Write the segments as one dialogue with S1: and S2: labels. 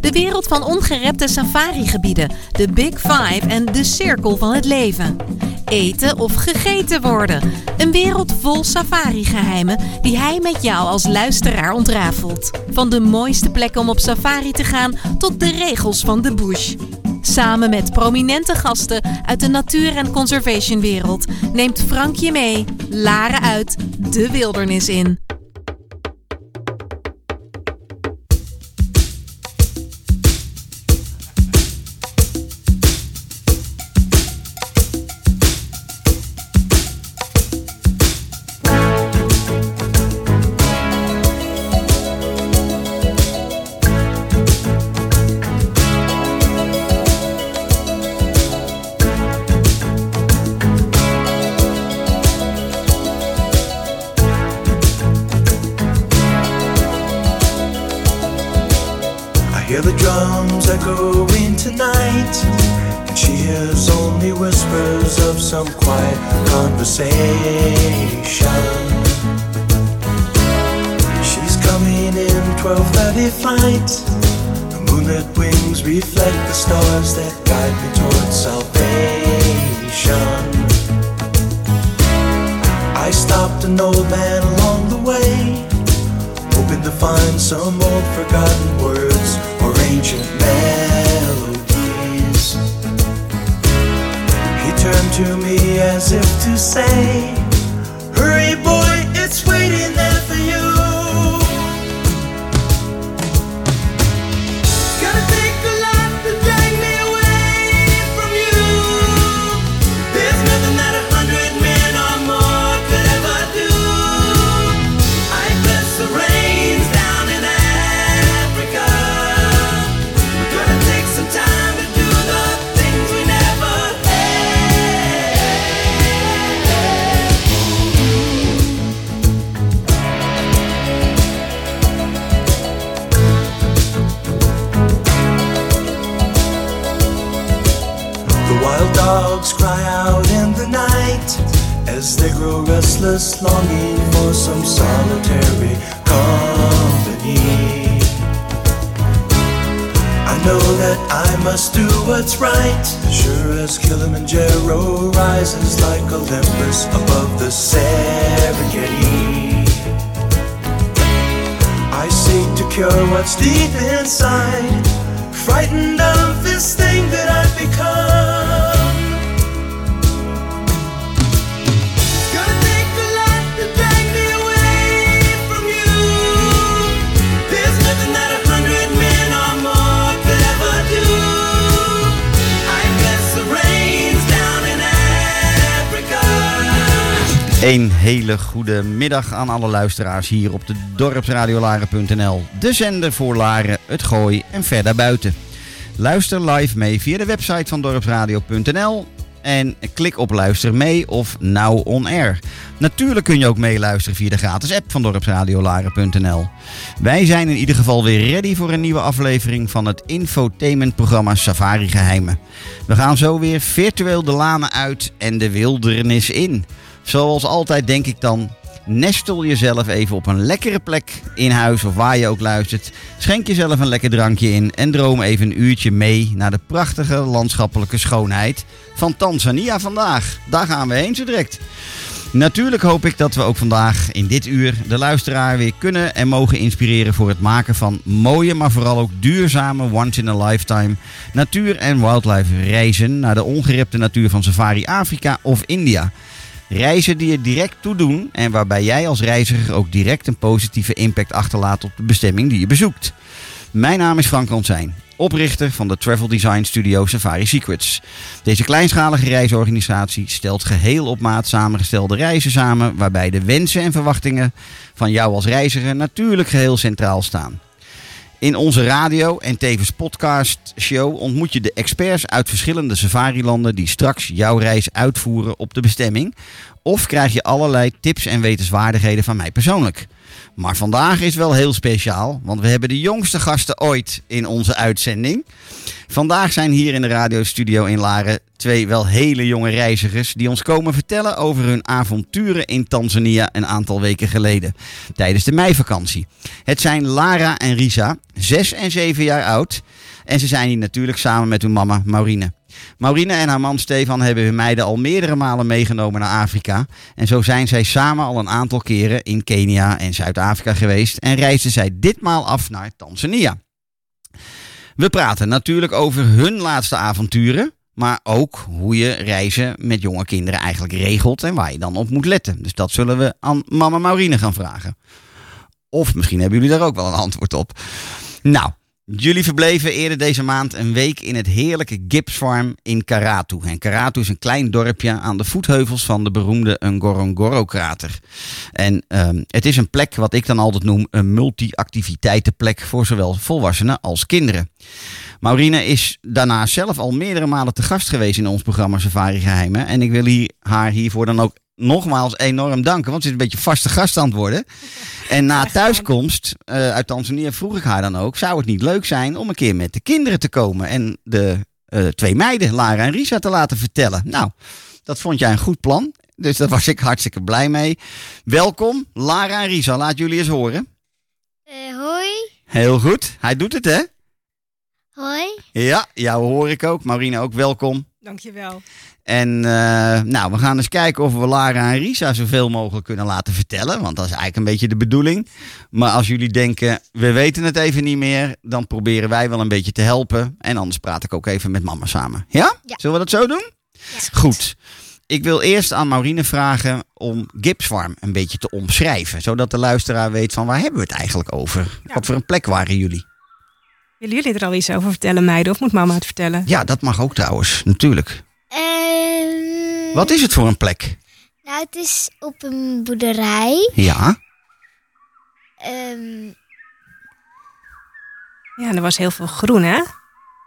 S1: De wereld van ongerepte safarigebieden, de Big Five en de cirkel van het leven. Eten of gegeten worden. Een wereld vol safari-geheimen die hij met jou als luisteraar ontrafelt. Van de mooiste plekken om op safari te gaan tot de regels van de bush. Samen met prominente gasten uit de natuur- en conservationwereld neemt Frank je mee, Laren uit, de wildernis in.
S2: I hear the drums echoing tonight, and she hears only whispers of some quiet conversation. She's coming in 12:30 flight. The moonlit wings reflect the stars that guide me towards salvation. I stopped an old man along the way hoping to find some old forgotten words or ancient melodies. He turned to me as if to say, Hurry, boy, it's waiting there for you. It's gonna take a lot to drag me away from you. There's nothing that a hundred men or more could ever do. I bless the rains down in Africa. We're gonna take some time to do the things we never had. The wild dogs cry out in the night as they grow restless, longing for some solitary company. I know that I must do what's right, sure as Kilimanjaro rises like Olympus above the Serengeti. I seek to cure what's deep inside, frightened of this thing that I've become. Gonna take a lot to drag me away from you. There's nothing that a hundred men or more could ever do. I bless the rains down in Africa.
S3: Een hele goede middag aan alle luisteraars hier op de dorpsradiolaren.nl. De zender voor Laren, het Gooi en ver daarbuiten. Luister live mee via de website van dorpsradio.nl en klik op luister mee of now on air. Natuurlijk kun je ook meeluisteren via de gratis app van dorpsradiolaren.nl. Wij zijn in ieder geval weer ready voor een nieuwe aflevering van het infotainmentprogramma Safari Geheimen. We gaan zo weer virtueel de lanen uit en de wildernis in. Zoals altijd denk ik dan, nestel jezelf even op een lekkere plek in huis of waar je ook luistert. Schenk jezelf een lekker drankje in en droom even een uurtje mee naar de prachtige landschappelijke schoonheid van Tanzania vandaag. Daar gaan we heen zo direct. Natuurlijk hoop ik dat we ook vandaag in dit uur de luisteraar weer kunnen en mogen inspireren voor het maken van mooie, maar vooral ook duurzame once in a lifetime natuur- en wildlife reizen naar de ongerepte natuur van Safari Afrika of India. Reizen die je direct toedoen en waarbij jij als reiziger ook direct een positieve impact achterlaat op de bestemming die je bezoekt. Mijn naam is Frank Rontzijn, oprichter van de travel design studio Safari Secrets. Deze kleinschalige reisorganisatie stelt geheel op maat samengestelde reizen samen, waarbij de wensen en verwachtingen van jou als reiziger natuurlijk geheel centraal staan. In onze radio en tevens podcast show ontmoet je de experts uit verschillende safarilanden die straks jouw reis uitvoeren op de bestemming. Of krijg je allerlei tips en wetenswaardigheden van mij persoonlijk. Maar vandaag is wel heel speciaal, want we hebben de jongste gasten ooit in onze uitzending. Vandaag zijn hier in de radiostudio in Laren twee wel hele jonge reizigers die ons komen vertellen over hun avonturen in Tanzania een aantal weken geleden tijdens de meivakantie. Het zijn Lara en Risa, zes en zeven jaar oud. En ze zijn hier natuurlijk samen met hun mama Maurine. Maurine en haar man Stefan hebben hun meiden al meerdere malen meegenomen naar Afrika. En zo zijn zij samen al een aantal keren in Kenia en Zuid-Afrika geweest. En reisden zij ditmaal af naar Tanzania. We praten natuurlijk over hun laatste avonturen. Maar ook hoe je reizen met jonge kinderen eigenlijk regelt en waar je dan op moet letten. Dus dat zullen we aan mama Maurine gaan vragen. Of misschien hebben jullie daar ook wel een antwoord op. Nou, Jullie verbleven eerder deze maand een week in het heerlijke Gibbs Farm in Karatu. En Karatu is een klein dorpje aan de voetheuvels van de beroemde Ngorongoro-krater. En ehm, het is een plek wat ik dan altijd noem een multi-activiteitenplek voor zowel volwassenen als kinderen. Maurine is daarna zelf al meerdere malen te gast geweest in ons programma Safari Geheimen. En ik wil hier, haar hiervoor dan ook nogmaals enorm danken, want ze is een beetje vaste gast aan het worden. En na thuiskomst eh, uit Tanzania vroeg ik haar dan ook: zou het niet leuk zijn om een keer met de kinderen te komen en de eh, twee meiden, Lara en Risa, te laten vertellen? Nou, dat vond jij een goed plan. Dus daar was ik hartstikke blij mee. Welkom, Lara en Risa. Laat jullie eens horen.
S4: Eh, hoi.
S3: Heel goed. Hij doet het, hè?
S4: Hoi.
S3: Ja, jou hoor ik ook. Marina ook, welkom.
S5: Dankjewel.
S3: En eh, nou, we gaan eens kijken of we Lara en Risa zoveel mogelijk kunnen laten vertellen. Want dat is eigenlijk een beetje de bedoeling. Maar als jullie denken, we weten het even niet meer, dan proberen wij wel een beetje te helpen. En anders praat ik ook even met mama samen. Ja?
S4: Ja.
S3: Zullen we dat zo doen? Goed. Ik wil eerst aan Maurine vragen om Gibbs Farm een beetje te omschrijven. Zodat de luisteraar weet van waar hebben we het eigenlijk over?
S5: Ja.
S3: Wat voor een plek waren jullie?
S5: Willen jullie er al iets over vertellen, meiden? Of moet mama het vertellen?
S3: Ja, dat mag ook trouwens, natuurlijk.
S4: Ehm,
S3: Wat is het voor een plek?
S4: Nou, het is op een boerderij.
S3: Ja,
S4: Ehm,
S5: Ja, en er was heel veel groen, hè?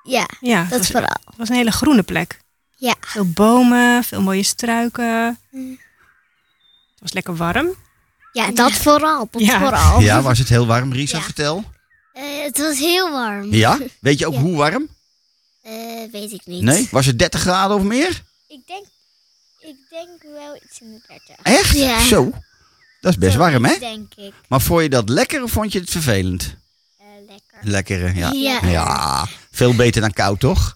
S4: ja,
S5: Ja, het
S4: dat
S5: was,
S4: vooral.
S5: het was een hele groene plek.
S4: Ja.
S5: Veel bomen, veel mooie struiken.
S4: Mm.
S5: Het was lekker warm.
S4: Ja, dat vooral. Dat
S5: Ja.
S4: vooral.
S3: ja was het heel warm, Risa?
S4: Oh. Ja.
S3: Vertel.
S4: Eh, het was heel warm.
S3: Ja? Weet je ook
S4: Ja.
S3: hoe warm?
S4: Eh, weet ik niet.
S3: Nee? Was het 30 graden of meer?
S4: Ik denk, ik denk wel iets in de 30.
S3: Echt?
S4: Ja.
S3: Zo. Dat is best warm, hè?
S4: Denk ik.
S3: Maar vond je dat lekker of vond je het vervelend?
S4: Eh, lekker.
S3: Lekker, ja.
S4: Ja.
S3: Ja, veel beter dan koud, toch?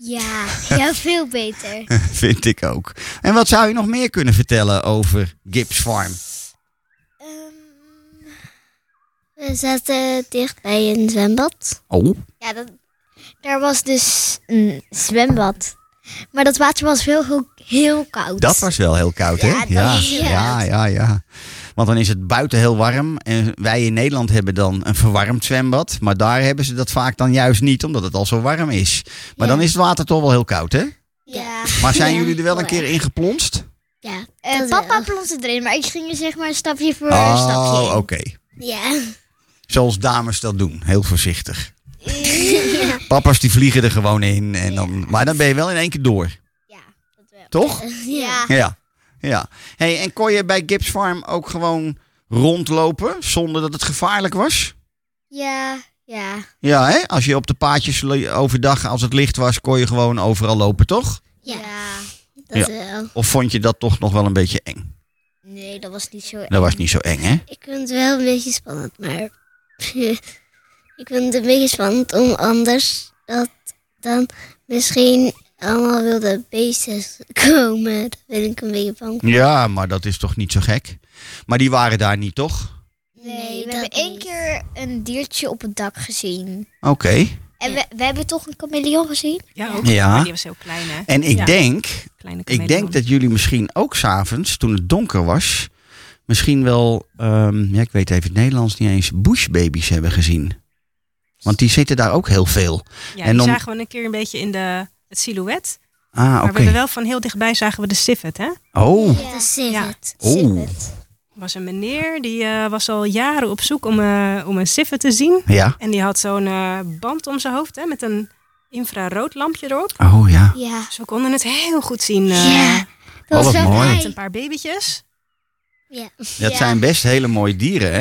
S4: Ja, ja, veel beter.
S3: Vind ik ook. En wat zou je nog meer kunnen vertellen over Gibbs Farm?
S4: Ehm, we zaten dicht bij een zwembad.
S3: Oh,
S4: Ja, dat, daar was dus een zwembad. Maar dat water was wel heel, heel koud.
S3: dat was wel heel koud, hè?
S4: Ja, dat
S3: ja.
S4: was heel
S3: ja,
S4: koud.
S3: ja, ja. Want dan is het buiten heel warm. En wij in Nederland hebben dan een verwarmd zwembad. Maar daar hebben ze dat vaak dan juist niet, omdat het al zo warm is. Maar
S4: Ja.
S3: dan is het water toch wel heel koud, hè?
S4: Ja.
S3: Maar zijn
S4: Ja,
S3: jullie er wel een
S4: heel
S3: keer in geplonst?
S4: Ja,
S6: Eh,
S4: dat
S6: papa
S4: wel.
S6: plonste erin, maar ik ging er zeg maar een stapje voor een
S3: Oh,
S6: stapje.
S3: oké.
S6: in.
S4: Ja.
S3: Zoals dames dat doen, heel voorzichtig. Papa's die vliegen er gewoon in. En dan, maar dan ben je wel in één keer door,
S4: Ja, dat wel.
S3: toch?
S4: Ja.
S3: Ja. ja. Hey, en kon je bij Gibbs Farm ook gewoon rondlopen zonder dat het gevaarlijk was?
S4: Ja. Ja.
S3: Ja, hè? als je op de paadjes le- overdag, als het licht was, kon je gewoon overal lopen, toch?
S4: Ja.
S3: Ja.
S4: Dat wel.
S3: Of vond je dat toch nog wel een beetje eng?
S4: Nee, dat was niet zo.
S3: Dat was niet zo eng, hè?
S4: Ik vind het wel een beetje spannend, maar... ik vind het een beetje spannend om anders dat dan misschien allemaal wilde beesten komen. Daar ben ik een beetje bang voor.
S3: Ja, maar dat is toch niet zo gek? Maar die waren daar niet, toch?
S6: Nee, we
S4: dat
S6: hebben één
S4: niet.
S6: keer een diertje op het dak gezien.
S3: Oké.
S6: En we, we hebben toch een chameleon gezien?
S5: Ja, ook.
S3: Ja.
S5: Maar die was heel klein, hè?
S3: En ik
S5: Ja,
S3: denk
S5: kleine
S3: Ik
S5: chameleon.
S3: denk dat jullie misschien ook s'avonds, toen het donker was, misschien wel, ehm, ja, ik weet even het Nederlands niet eens, bushbabies hebben gezien. Want die zitten daar ook heel veel.
S5: Ja,
S3: en
S5: die
S3: dan-
S5: zagen we een keer een beetje in de, het silhouet.
S3: Ah,
S5: Maar
S3: oké.
S5: we hebben wel van heel dichtbij zagen we de civet, hè?
S3: Oh,
S4: Ja.
S6: Ja.
S4: Dat is zin
S5: Ja.
S4: het.
S3: oh,
S5: Er was een meneer, die eh, was al jaren op zoek om, eh, om een civet te zien.
S3: ja.
S5: En die had zo'n eh, band om zijn hoofd, hè? Met een infrarood lampje erop.
S3: Oh ja.
S4: Ja.
S5: Dus we konden het heel goed zien. eh,
S4: Ja.
S3: Oh, wat mooi.
S5: Met een paar babytjes.
S4: Ja,
S3: Dat
S6: Ja.
S3: zijn best hele mooie dieren, hè?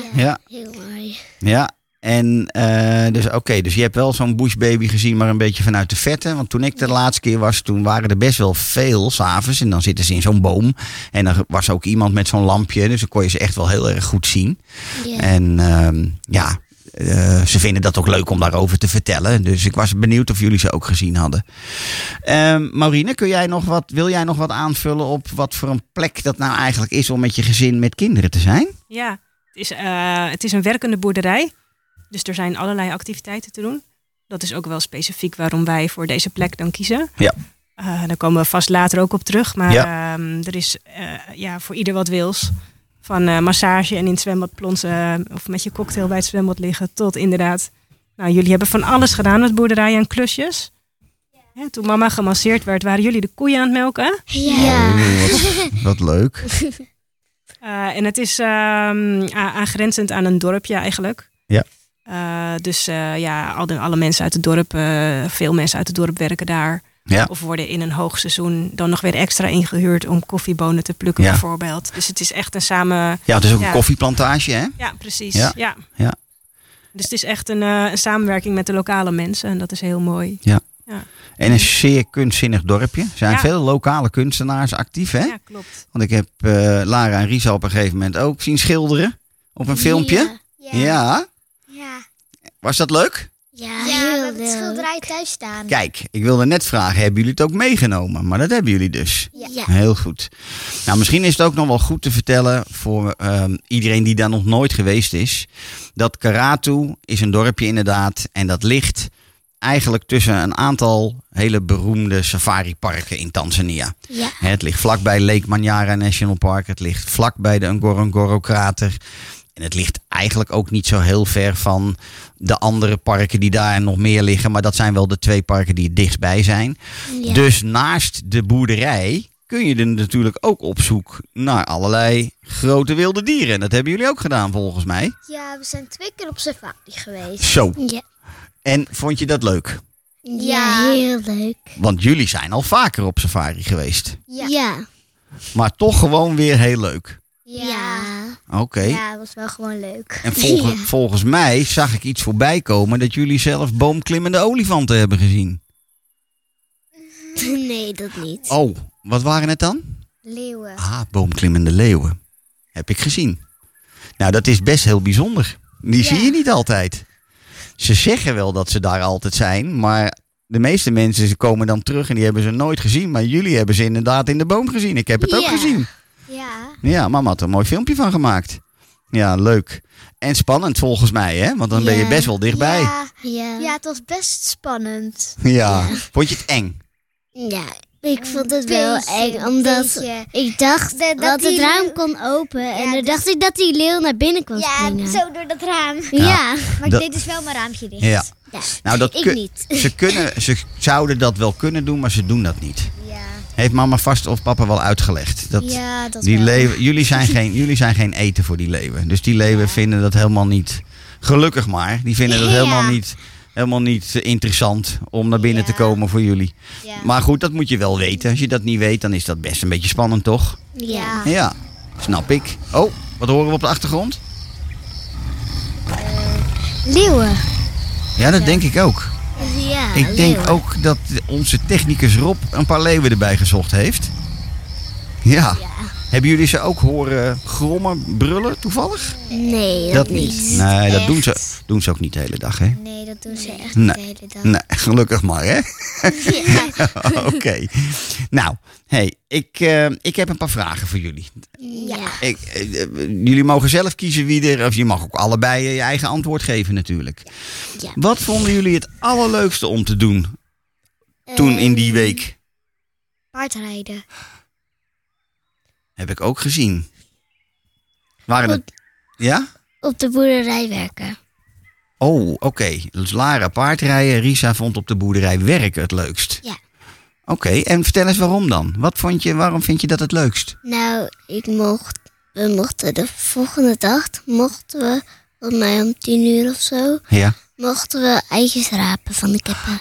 S4: ja,
S3: Ja.
S4: heel mooi.
S3: Ja. En eh, dus oké, dus je hebt wel zo'n bushbaby gezien, maar een beetje vanuit de vette. Want toen ik de laatste keer was, toen waren er best wel veel s'avonds. En dan zitten ze in zo'n boom. En dan was ook iemand met zo'n lampje. Dus dan kon je ze echt wel heel erg goed zien.
S4: Ja.
S3: En ehm, ja, eh, ze vinden dat ook leuk om daarover te vertellen. Dus ik was benieuwd of jullie ze ook gezien hadden. Ehm, Maurine, kun jij nog wat, wil jij nog wat aanvullen op wat voor een plek dat nou eigenlijk is om met je gezin met kinderen te zijn?
S5: Ja, het is, eh, het is een werkende boerderij. Dus er zijn allerlei activiteiten te doen. Dat is ook wel specifiek waarom wij voor deze plek dan kiezen.
S3: Ja.
S5: Eh, daar komen we vast later ook op terug. Maar
S3: Ja.
S5: ehm, er is eh, ja, voor ieder wat wils. Van eh, massage en in het zwembad plonsen. eh, Of met je cocktail bij het zwembad liggen. Tot inderdaad. Nou, jullie hebben van alles gedaan met boerderijen en klusjes. Hè, toen mama gemasseerd werd, waren jullie de koeien aan het melken.
S4: Ja.
S3: Oeh, Oh, wat, wat leuk.
S5: Eh, en het is ehm, a- aangrenzend aan een dorpje eigenlijk.
S3: Ja.
S5: Eh, dus eh, ja, al de, alle mensen uit het dorp, eh, veel mensen uit het dorp werken daar.
S3: Ja.
S5: Of worden in een hoogseizoen dan nog weer extra ingehuurd om koffiebonen te plukken
S3: Ja.
S5: bijvoorbeeld. Dus het is echt een samen...
S3: Ja, het is ook een
S5: Ja.
S3: koffieplantage, hè?
S5: Ja, precies.
S3: Ja.
S5: Ja.
S3: Ja.
S5: Dus het is echt een, eh, een samenwerking met de lokale mensen en dat is heel mooi.
S3: En een zeer kunstzinnig dorpje. Er zijn
S5: Mm. Ja.
S3: veel lokale kunstenaars actief, hè?
S5: Ja, klopt.
S3: Want ik heb eh, Lara en Risa op een gegeven moment ook zien schilderen. Op een filmpje. Ja.
S6: Ja,
S3: Was dat leuk?
S4: Ja,
S6: ja we
S4: heel
S6: hebben het
S4: leuk.
S6: schilderij thuis staan.
S3: Kijk, ik wilde net vragen, hebben jullie het ook meegenomen? Maar dat hebben jullie dus.
S4: Ja.
S3: Heel goed. Nou, misschien is het ook nog wel goed te vertellen voor ehm, iedereen die daar nog nooit geweest is. Dat Karatu is een dorpje inderdaad. En dat ligt eigenlijk tussen een aantal hele beroemde safariparken in Tanzania.
S4: Ja.
S3: Hè, Het ligt vlakbij Lake Manyara National Park. Het ligt vlakbij de Ngorongoro-krater. En het ligt eigenlijk ook niet zo heel ver van de andere parken die daar nog meer liggen. Maar dat zijn wel de twee parken die het dichtstbij zijn.
S4: Ja.
S3: Dus naast de boerderij kun je er natuurlijk ook op zoek naar allerlei grote wilde dieren. En dat hebben jullie ook gedaan volgens mij.
S6: Ja, we zijn twee keer op safari geweest.
S3: Zo.
S4: Ja.
S3: En vond je dat leuk?
S4: Ja, heel leuk.
S3: Want jullie zijn al vaker op safari geweest.
S6: Ja.
S4: Ja.
S3: Maar toch gewoon weer heel leuk.
S4: Ja.
S3: Oké.
S6: Ja, dat was wel gewoon leuk.
S3: En volge-
S4: Ja.
S3: volgens mij zag ik iets voorbij komen dat jullie zelf boomklimmende olifanten hebben gezien.
S4: Nee, dat niet.
S3: Oh, wat waren het dan?
S6: Leeuwen.
S3: Ah, boomklimmende leeuwen. Heb ik gezien. Nou, dat is best heel bijzonder. Die
S6: Ja.
S3: zie je niet altijd. Ze zeggen wel dat ze daar altijd zijn, maar de meeste mensen ze komen dan terug en die hebben ze nooit gezien. Maar jullie hebben ze inderdaad in de boom gezien. Ik heb het ook
S4: Ja.
S3: gezien.
S6: Ja.
S3: Ja, mama had er een mooi filmpje van gemaakt. Ja, leuk. En spannend volgens mij, hè? Want dan ben je
S4: Ja.
S3: best wel dichtbij.
S6: Ja,
S4: Ja.
S6: ja, het was best spannend.
S3: Ja. Vond je het eng?
S4: Ja, ik vond het wel
S6: Beetje,
S4: eng, omdat
S6: beetje.
S4: ik dacht
S6: Dat-
S4: dat,
S6: dat
S4: het
S6: die-
S4: raam kon open. en dan
S6: dat-
S4: dacht ik dat die leeuw naar binnen kon
S6: Ja,
S4: springen.
S6: zo door dat raam.
S4: Ja.
S6: Maar
S3: Dat-
S6: ik deed dus wel mijn raampje dicht.
S3: Ja.
S4: Ja,
S3: Nou, dat
S4: ik
S3: kun-
S4: niet.
S3: Ze, kunnen, ze zouden dat wel kunnen doen, maar ze doen dat niet.
S6: Ja,
S3: Heeft mama vast of papa wel uitgelegd. Dat
S6: ja dat
S3: die
S6: wel.
S3: leeuwen, jullie, zijn geen, jullie zijn geen eten voor die leeuwen. Dus die leeuwen vinden dat helemaal niet. Gelukkig maar. Die vinden dat
S6: Ja.
S3: helemaal niet, helemaal niet eh, interessant om naar binnen
S6: Ja.
S3: te komen voor jullie.
S6: Ja.
S3: Maar goed, dat moet je wel weten. Als je dat niet weet, dan is dat best een beetje spannend, toch?
S6: ja.
S3: Ja, snap ik. Oh, wat horen we op de achtergrond?
S6: Leeuwen.
S3: Ja, dat denk ik ook.
S4: Ja,
S3: Ik denk
S4: leeuw.
S3: ook dat onze technicus Rob een paar leeuwen erbij gezocht heeft. Ja. Hebben jullie ze ook horen grommen, brullen toevallig?
S4: Nee, dat, niet.
S3: Nee, dat
S6: Echt.
S3: doen ze, doen ze ook niet de hele dag, hè?
S6: Nee, dat doen ze echt
S3: Nee.
S6: niet de hele dag.
S3: Nee, gelukkig maar, hè? Oké. Nou, hey, ik, eh, ik heb een paar vragen voor jullie.
S4: Ja.
S3: Ik, eh, eh, jullie mogen zelf kiezen wie er... Of je mag ook allebei eh, je eigen antwoord geven natuurlijk.
S4: Ja.
S3: Wat vonden jullie het allerleukste om te doen toen in
S4: Ehm,
S3: die week?
S6: Paardrijden.
S3: Heb ik ook gezien. Waren het... Ja?
S4: Op de boerderij werken.
S3: Oh, oké. Dus Lara paardrijden, Risa vond op de boerderij werken het leukst.
S4: Ja.
S3: Oké, en vertel eens waarom dan? Wat vond je, waarom vind je dat het leukst?
S4: Nou, ik mocht, we mochten de volgende dag, mochten we, volgens mij om tien uur of zo,
S3: Ja.
S4: mochten we eitjes rapen van de kippen.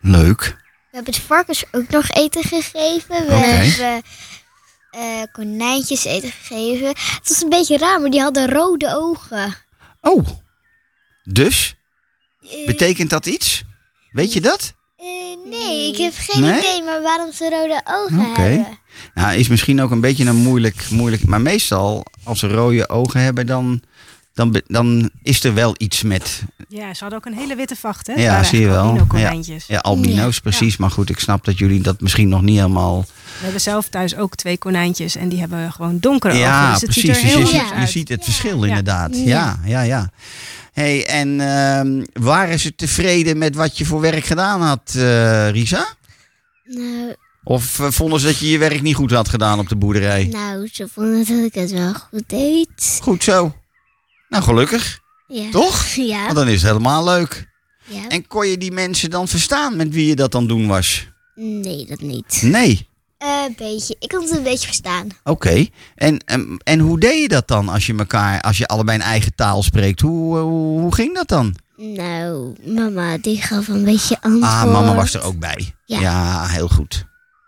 S3: Leuk.
S6: We hebben de varkens ook nog eten gegeven.
S3: Oké.
S6: We hebben eh, eh, konijntjes eten gegeven. Het was een beetje raar, maar die hadden rode ogen.
S3: Oh, dus?
S6: Eh,
S3: Betekent dat iets? Weet je dat?
S6: eh, nee, ik heb geen
S3: Nee?
S6: idee, maar waarom ze rode ogen
S3: Oké.
S6: hebben.
S3: Ja, is misschien ook een beetje een moeilijk, moeilijk. Maar meestal, als ze rode ogen hebben, dan, dan, be- dan is er wel iets met.
S5: Ja, ze hadden ook een hele witte vacht, hè?
S3: Ja, zie je wel.
S5: konijntjes.
S3: Ja, albino's precies. Maar goed, ik snap dat jullie dat misschien nog niet helemaal.
S5: We hebben zelf thuis ook twee konijntjes en die hebben gewoon donkere ogen.
S3: ja,
S5: Dus het
S3: precies.
S5: ziet er
S3: Dus
S5: heel
S3: je,
S5: anders
S3: ziet- je
S5: uit.
S3: ziet het verschil inderdaad. Ja, ja, ja. hey, en ehm, waren ze tevreden met wat je voor werk gedaan had, eh, Risa?
S4: Nou,
S3: Of eh, vonden ze dat je je werk niet goed had gedaan op de boerderij?
S4: nou, ze vonden dat ik het wel goed deed.
S3: Goed zo. Nou, gelukkig.
S4: Ja.
S3: Toch?
S4: Ja.
S3: Want dan is het helemaal leuk.
S4: ja.
S3: En kon je die mensen dan verstaan met wie je dat dan doen was?
S4: Nee, dat niet.
S3: Nee.
S6: Eh, Een beetje. Ik kon het een beetje verstaan.
S3: Oké. En, en, en hoe deed je dat dan als je elkaar, als je allebei een eigen taal spreekt? Hoe, eh, hoe, hoe ging dat dan?
S4: Nou, mama, die gaf een beetje antwoord.
S3: Ah, mama was er ook bij. Ja,
S4: Ja.
S3: heel goed.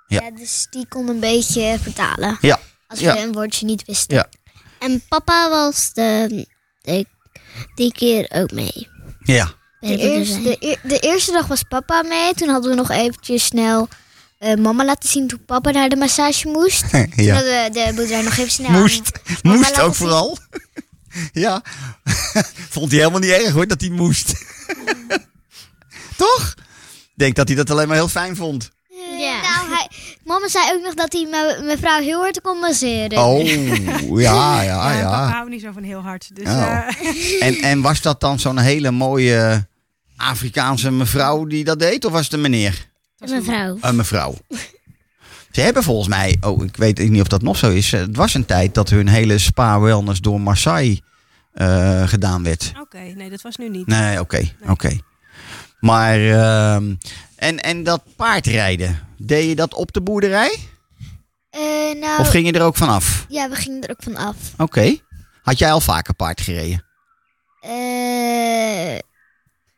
S3: Ja.
S6: Ja. dus die kon een beetje vertalen.
S3: Ja.
S6: Als we
S3: Ja.
S6: een woordje niet wisten.
S3: Ja.
S4: En papa was de, de- die keer ook mee.
S3: Ja.
S6: De, eerste, de, eer- de eerste dag was papa mee. Toen hadden we nog eventjes snel eh, mama laten zien toen papa naar de massage moest. Toen
S3: ja.
S6: hadden we de boerderij nog even snel...
S3: Moest.
S6: mama
S3: Moest
S6: laten
S3: ook
S6: zien.
S3: vooral. ja. Vond hij helemaal niet erg hoor, dat hij moest. Toch? Ik denk dat hij dat alleen maar heel fijn vond.
S6: Ja. Nou, hij, mama zei ook nog dat hij me- mevrouw heel hard kon masseren.
S3: Oh, ja, ja,
S5: Ja,
S3: ah, ja.
S5: Papa houdt niet zo van heel hard. Dus
S3: Oh.
S5: eh,
S3: En, en was dat dan zo'n hele mooie Afrikaanse mevrouw die dat deed? Of was het een meneer?
S4: Mevrouw.
S3: Een mevrouw. Ze hebben volgens mij, oh, ik weet niet of dat nog zo is. eh, Het was een tijd dat hun hele spa-wellness door Marseille eh, gedaan werd.
S5: oké, nee, dat was nu niet.
S3: Nee, oké, oké. Maar, ehm, en, en dat paardrijden, deed je dat op de boerderij?
S6: Eh, nou,
S3: Of ging je er ook vanaf?
S6: ja, we gingen er ook van af.
S3: Oké. Had jij al vaker paard gereden?
S6: Eh,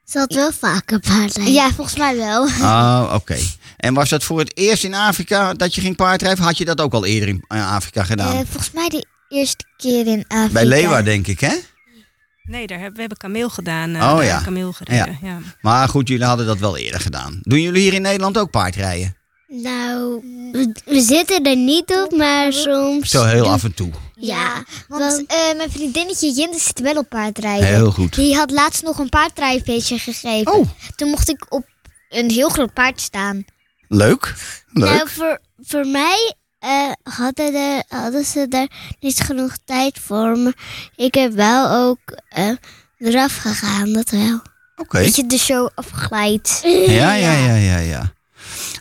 S4: Ze had wel vaker paardrijden.
S6: ja, volgens mij wel.
S3: Ah, oké. En was dat voor het eerst in Afrika dat je ging paardrijden? Had je dat ook al eerder in eh, Afrika gedaan?
S6: Eh, volgens mij de eerste keer in Afrika.
S3: Bij Leeuwarden, denk ik, hè?
S5: Nee, daar hebben, we hebben kameel gedaan. eh,
S3: Oh,
S5: daar
S3: ja.
S5: Kameel gereden. Ja.
S3: Maar goed, jullie hadden dat wel eerder gedaan. Doen jullie hier in Nederland ook paardrijden?
S4: Nou, we, we zitten er niet op, maar soms.
S3: Zo heel af en toe.
S4: Ja,
S6: Want
S4: want
S6: eh, mijn vriendinnetje Jinde zit wel op paardrijden.
S3: Heel goed.
S6: Die had laatst nog een paardrijfeestje gegeven.
S3: Oh.
S6: Toen mocht ik op een heel groot paard staan.
S3: Leuk. Leuk.
S4: nou, voor, voor mij eh, hadden, de, hadden ze daar niet genoeg tijd voor. Maar ik heb wel ook eh, eraf gegaan, dat wel.
S3: Oké.
S6: Dat je de show afglijdt.
S3: Ja, ja, ja, ja, ja.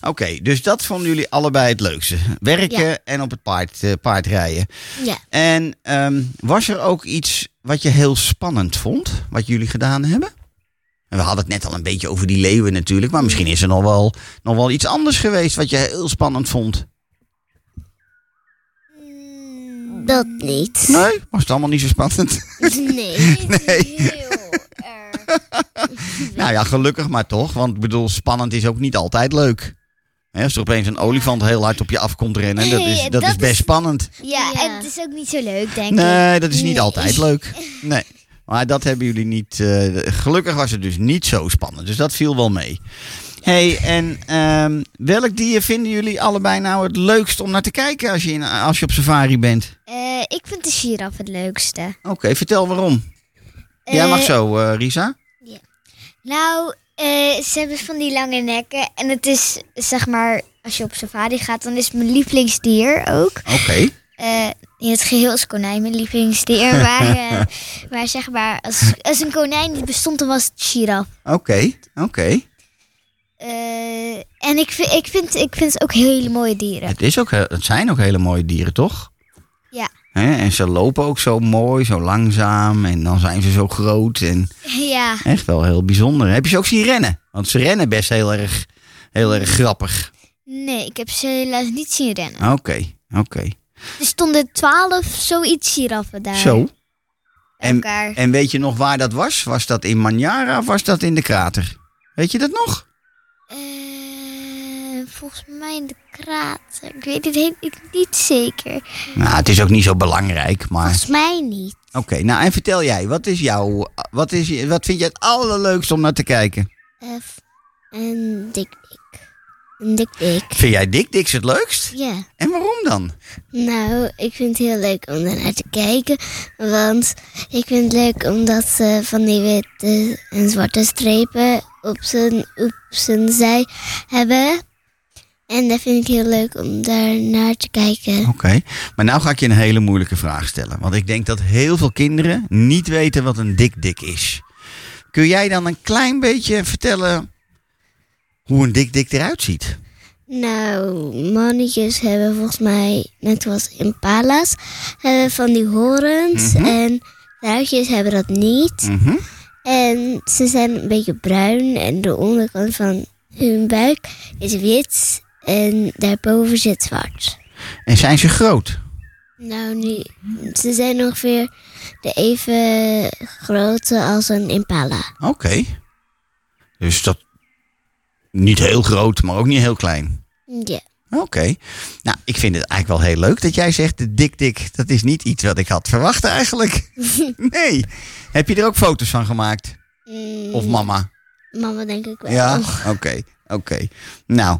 S3: Oké, dus dat vonden jullie allebei het leukste. Werken en op het paard, eh, paardrijden.
S4: Ja.
S3: En ehm, was er ook iets wat je heel spannend vond, wat jullie gedaan hebben? En we hadden het net al een beetje over die leeuwen natuurlijk, maar misschien is er nog wel, nog wel iets anders geweest wat je heel spannend vond.
S4: Dat niet.
S3: Nee, was het allemaal niet zo spannend?
S4: Nee.
S3: Nee. nou ja, gelukkig maar toch, want ik bedoel, spannend is ook niet altijd leuk. Hè, als er opeens een olifant heel hard op je af komt rennen, dat is,
S6: Nee,
S3: dat
S6: dat
S3: is best
S6: is-
S3: spannend.
S6: Ja,
S4: Ja.
S6: en het is ook niet zo leuk, denk ik.
S3: Nee, dat is niet altijd leuk. Nee. Maar dat hebben jullie niet. eh, gelukkig was het dus niet zo spannend. Dus dat viel wel mee. hey, en ehm, welk dier vinden jullie allebei nou het leukst om naar te kijken als je, in, als je op safari bent?
S6: Eh, ik vind de giraf het leukste.
S3: Oké, vertel waarom. Jij mag
S6: Eh,
S3: zo, eh, Risa.
S6: Nou, eh, ze hebben van die lange nekken. En het is, zeg maar, als je op safari gaat, dan is het mijn lievelingsdier ook.
S3: Oké.
S6: Eh, in het geheel is konijn mijn lievelingsdier. Maar, eh, maar zeg maar, als, als een konijn niet bestond, dan was het giraf.
S3: Oké. Oké.
S6: Eh, en ik, vind- ik, vind, ik vind het ook hele mooie dieren.
S3: Het, is ook, he- het zijn ook hele mooie dieren, toch?
S6: Ja.
S3: Hè, en ze lopen ook zo mooi, zo langzaam. En dan zijn ze zo groot. En
S6: Ja,
S3: Echt wel heel bijzonder. Heb je ze ook zien rennen? Want ze rennen best heel erg, heel erg grappig.
S6: nee, ik heb ze helaas niet zien rennen.
S3: Oké, oké.
S6: Er stonden twaalf zoiets giraffen daar.
S3: Zo.
S6: bij
S3: En,
S6: elkaar.
S3: en weet je nog waar dat was? Was dat in Manjara of was dat in de krater? Weet je dat nog?
S6: Eh,
S4: eh, volgens mij in de krater. Ik weet het he- ik niet zeker.
S3: Nou, het is ook niet zo belangrijk, maar...
S4: Volgens mij niet.
S3: Oké, nou en vertel jij, wat is jouw... Wat, is, je- wat vind jij het allerleukst om naar te kijken?
S4: Eh, F. En dik dik. Een dik dik.
S3: Vind jij Dick Dicks het leukst?
S4: Ja.
S3: En waarom dan?
S4: Nou, ik vind het heel leuk om daarnaar te kijken. Want ik vind het leuk omdat ze van die witte en zwarte strepen op zijn, op zijn zij hebben. En dat vind ik heel leuk om daar naar te kijken.
S3: Oké, maar nou ga ik je een hele moeilijke vraag stellen. Want ik denk dat heel veel kinderen niet weten wat een Dick Dick is. Kun jij dan een klein beetje vertellen hoe een Dick Dick eruit ziet?
S4: Nou, mannetjes hebben volgens mij, net als impala's, hebben van die horens. En vrouwtjes hebben dat niet.
S3: Mhm.
S4: En ze zijn een beetje bruin en de onderkant van hun buik is wit en daarboven zit zwart.
S3: En zijn ze groot?
S4: Nou, nu, ze zijn ongeveer de even grote als een impala.
S3: Oké. Dus dat... Niet heel groot, maar ook niet heel klein.
S4: Ja.
S3: Oké. Nou, ik vind het eigenlijk wel heel leuk dat jij zegt... de dik dik, dat is niet iets wat ik had verwacht eigenlijk. nee. Heb je er ook foto's van gemaakt?
S4: Mm,
S3: Of mama?
S4: Mama denk ik wel.
S3: Ja? Oké, oké. Nou,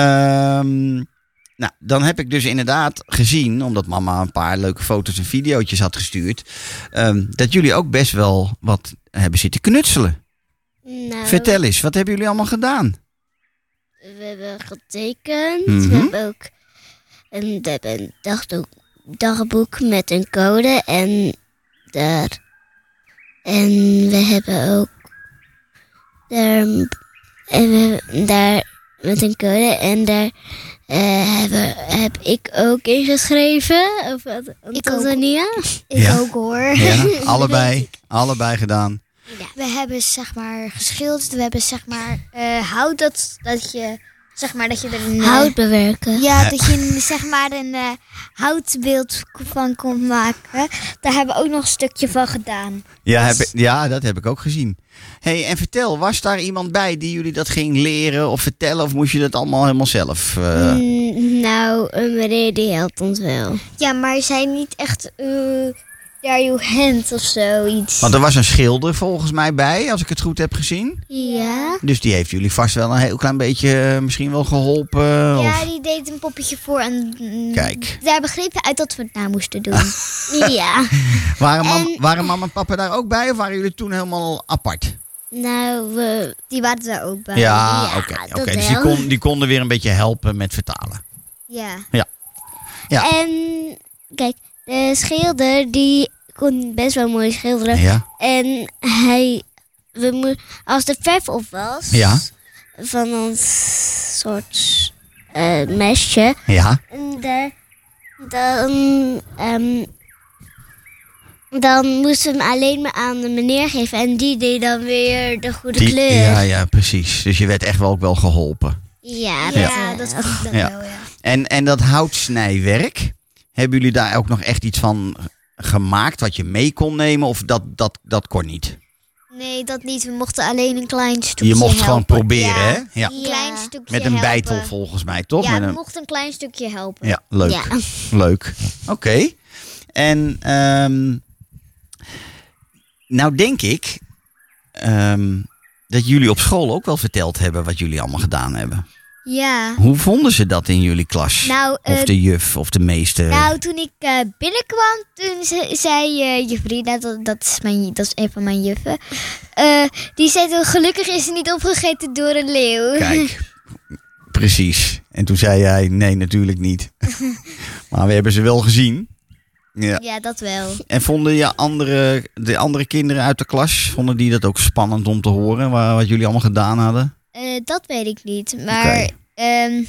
S3: ehm, nou, dan heb ik dus inderdaad gezien... omdat mama een paar leuke foto's en videootjes had gestuurd... ehm, dat jullie ook best wel wat hebben zitten knutselen.
S4: Nou,
S3: Vertel eens, wat hebben jullie allemaal gedaan?
S4: We hebben getekend.
S3: Mhm.
S4: We hebben ook een, we hebben een dagdoek- dagboek met een code. En daar. En we hebben ook. Daar, en we hebben daar met een code. En daar eh, hebben, heb ik ook ingeschreven. Of wat?
S6: Ik ook.
S4: Tanzania.
S6: Ik
S3: Ja.
S6: ook hoor.
S3: Ja, allebei, allebei gedaan.
S6: We hebben zeg maar geschilderd. We hebben zeg maar eh, hout dat, dat je zeg maar dat je er een eh,
S4: Hout bewerken.
S6: Ja, dat je een, zeg maar een eh, houtbeeld van kon maken. Daar hebben we ook nog een stukje van gedaan.
S3: Ja,
S6: Was-
S3: heb ik- ja, dat heb ik ook gezien. hey, en vertel, was daar iemand bij die jullie dat ging leren of vertellen? Of moest je dat allemaal helemaal zelf? eh?
S4: Mm, nou, een meneer die helpt ons wel.
S6: Ja, maar zijn niet echt eh daar je hand of zoiets.
S3: Want er was een schilder volgens mij bij, als ik het goed heb gezien.
S4: Ja.
S3: Dus die heeft jullie vast wel een heel klein beetje eh, misschien wel geholpen.
S6: Ja,
S3: of...
S6: die deed een poppetje voor en mm,
S3: Oh. Kijk.
S6: daar begrepen uit dat we het na moesten doen. ja.
S3: waren, mam,
S6: en-
S3: waren mama en papa daar ook bij of waren jullie toen helemaal apart?
S4: Nou, we,
S6: Die waren er ook bij.
S3: ja,
S4: Eh, ja,
S3: oké. oké.
S4: dat
S3: Dus die,
S4: wel.
S3: kon, die konden weer een beetje helpen met vertalen.
S6: Ja.
S3: Ja.
S4: En kijk, de schilder die kon best wel mooi schilderen.
S3: Ja,
S4: En hij, we mo- als de verf op was
S3: ja,
S4: van ons soort eh, mesje,
S3: ja.
S4: en daar- dan, ehm, dan moesten we hem alleen maar aan de meneer geven. En die deed dan weer de goede
S3: Die-
S4: kleur.
S3: ja, ja, precies. Dus je werd echt wel ook wel geholpen.
S4: Ja,
S6: Ja,
S4: dat, eh,
S6: dat vond ik dan
S3: Ja.
S6: wel, ja.
S3: En, en dat houtsnijwerk, hebben jullie daar ook nog echt iets van gemaakt wat je mee kon nemen? Of dat, dat, dat kon niet?
S6: Nee, dat niet. We mochten alleen een klein stukje
S3: Je mocht
S6: helpen.
S3: gewoon proberen,
S6: Ja.
S3: hè? Ja.
S6: Een
S4: Ja.
S6: klein stukje
S3: Met een
S6: helpen.
S3: bijtel volgens mij, toch?
S6: Ja,
S3: Met
S6: we
S3: een,
S6: mochten een klein stukje helpen.
S3: ja leuk.
S4: Ja.
S3: Leuk. Oké. En ehm, nou denk ik ehm, dat jullie op school ook wel verteld hebben wat jullie allemaal gedaan hebben.
S6: Ja.
S3: Hoe vonden ze dat in jullie klas?
S6: Nou, eh,
S3: of de juf of de meester?
S6: nou toen ik eh, binnenkwam, toen ze- zei eh Jufrida, dat, dat, is mijn, dat is een van mijn juffen, eh, die zei toen, gelukkig is ze niet opgegeten door een leeuw.
S3: Kijk, precies. En toen zei jij, nee, natuurlijk niet. maar we hebben ze wel gezien. Ja.
S6: Ja, dat wel.
S3: En vonden je andere, de andere kinderen uit de klas, vonden die dat ook spannend om te horen, wa- wat jullie allemaal gedaan hadden?
S6: Eh, dat weet ik niet, maar
S3: Oké.
S6: ehm,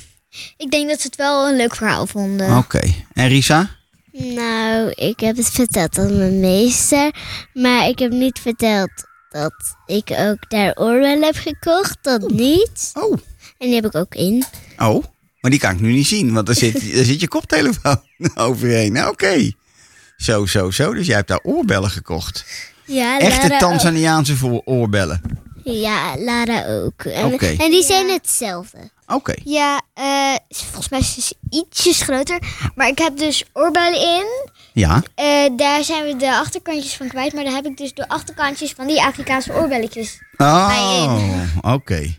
S6: ik denk dat ze het wel een leuk verhaal vonden.
S3: Oké. En Risa?
S4: Nou, ik heb het verteld aan mijn meester, maar ik heb niet verteld dat ik ook daar oorwel heb gekocht, dat niet.
S3: Oh.
S4: En die heb ik ook in.
S3: Oh, maar die kan ik nu niet zien, want daar zit, daar zit je koptelefoon overheen. Nou, Oké. Zo, zo, zo. Dus jij hebt daar oorbellen gekocht.
S4: Ja,
S3: Echte
S4: Lara ook.
S3: Tanzaniaanse voor oorbellen.
S4: Ja, Lara ook. En,
S3: Oké.
S4: en die zijn hetzelfde.
S3: Oké.
S6: Ja, eh, volgens mij is het ietsjes groter. Maar ik heb dus oorbellen in.
S3: Ja.
S6: Eh, daar zijn we de achterkantjes van kwijt. Maar daar heb ik dus de achterkantjes van die Afrikaanse oorbelletjes.
S3: Oh, oké.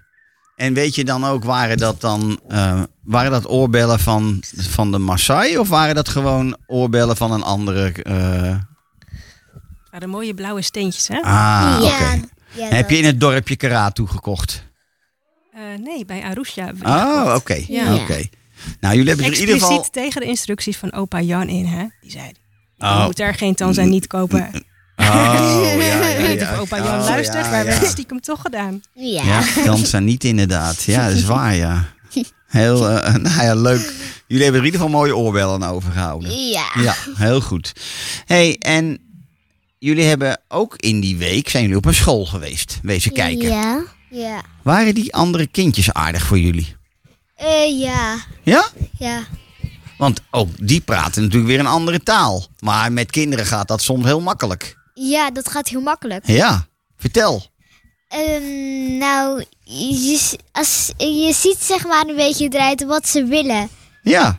S3: En weet je dan ook, waren dat dan eh, waren dat oorbellen van, van de Maasai? Of waren dat gewoon oorbellen van een andere... eh,
S5: Ja, de mooie blauwe steentjes, hè?
S3: Ah, oké.
S6: ja
S3: En Heb je in
S6: dat.
S3: het dorpje Karatu gekocht?
S5: Eh, nee, bij Arusha.
S3: Oh, oké.
S5: Ja.
S3: Oké. Nou, jullie hebben dus in
S5: Expliciet
S3: ieder geval...
S5: tegen de instructies van opa Jan in, hè? Die zei, je
S3: Oh.
S5: moet daar geen Tanzaniet niet kopen.
S3: Oh, ja,
S5: Ik
S3: ja,
S5: weet niet
S3: ja.
S5: of opa Jan
S3: Oh,
S5: luistert,
S3: ja,
S5: maar we
S3: ja.
S5: hebben het stiekem toch gedaan.
S6: Ja.
S3: Ja, dansen niet inderdaad. Ja, dat is waar, ja. Heel, eh, nou ja, leuk. Jullie hebben er in ieder geval mooie oorbellen aan overgehouden.
S6: Ja.
S3: Ja, heel goed. hey, en jullie hebben ook in die week, zijn jullie op een school geweest, wezen kijken.
S6: Ja. Ja.
S3: Waren die andere kindjes aardig voor jullie?
S6: Eh, ja.
S3: Ja?
S6: Ja.
S3: Want ook die praten natuurlijk weer een andere taal. Maar met kinderen gaat dat soms heel makkelijk.
S6: Ja, dat gaat heel makkelijk.
S3: Ja, vertel.
S6: Ehm, nou, je, z- als, je ziet zeg maar een beetje eruit wat ze willen.
S3: Ja.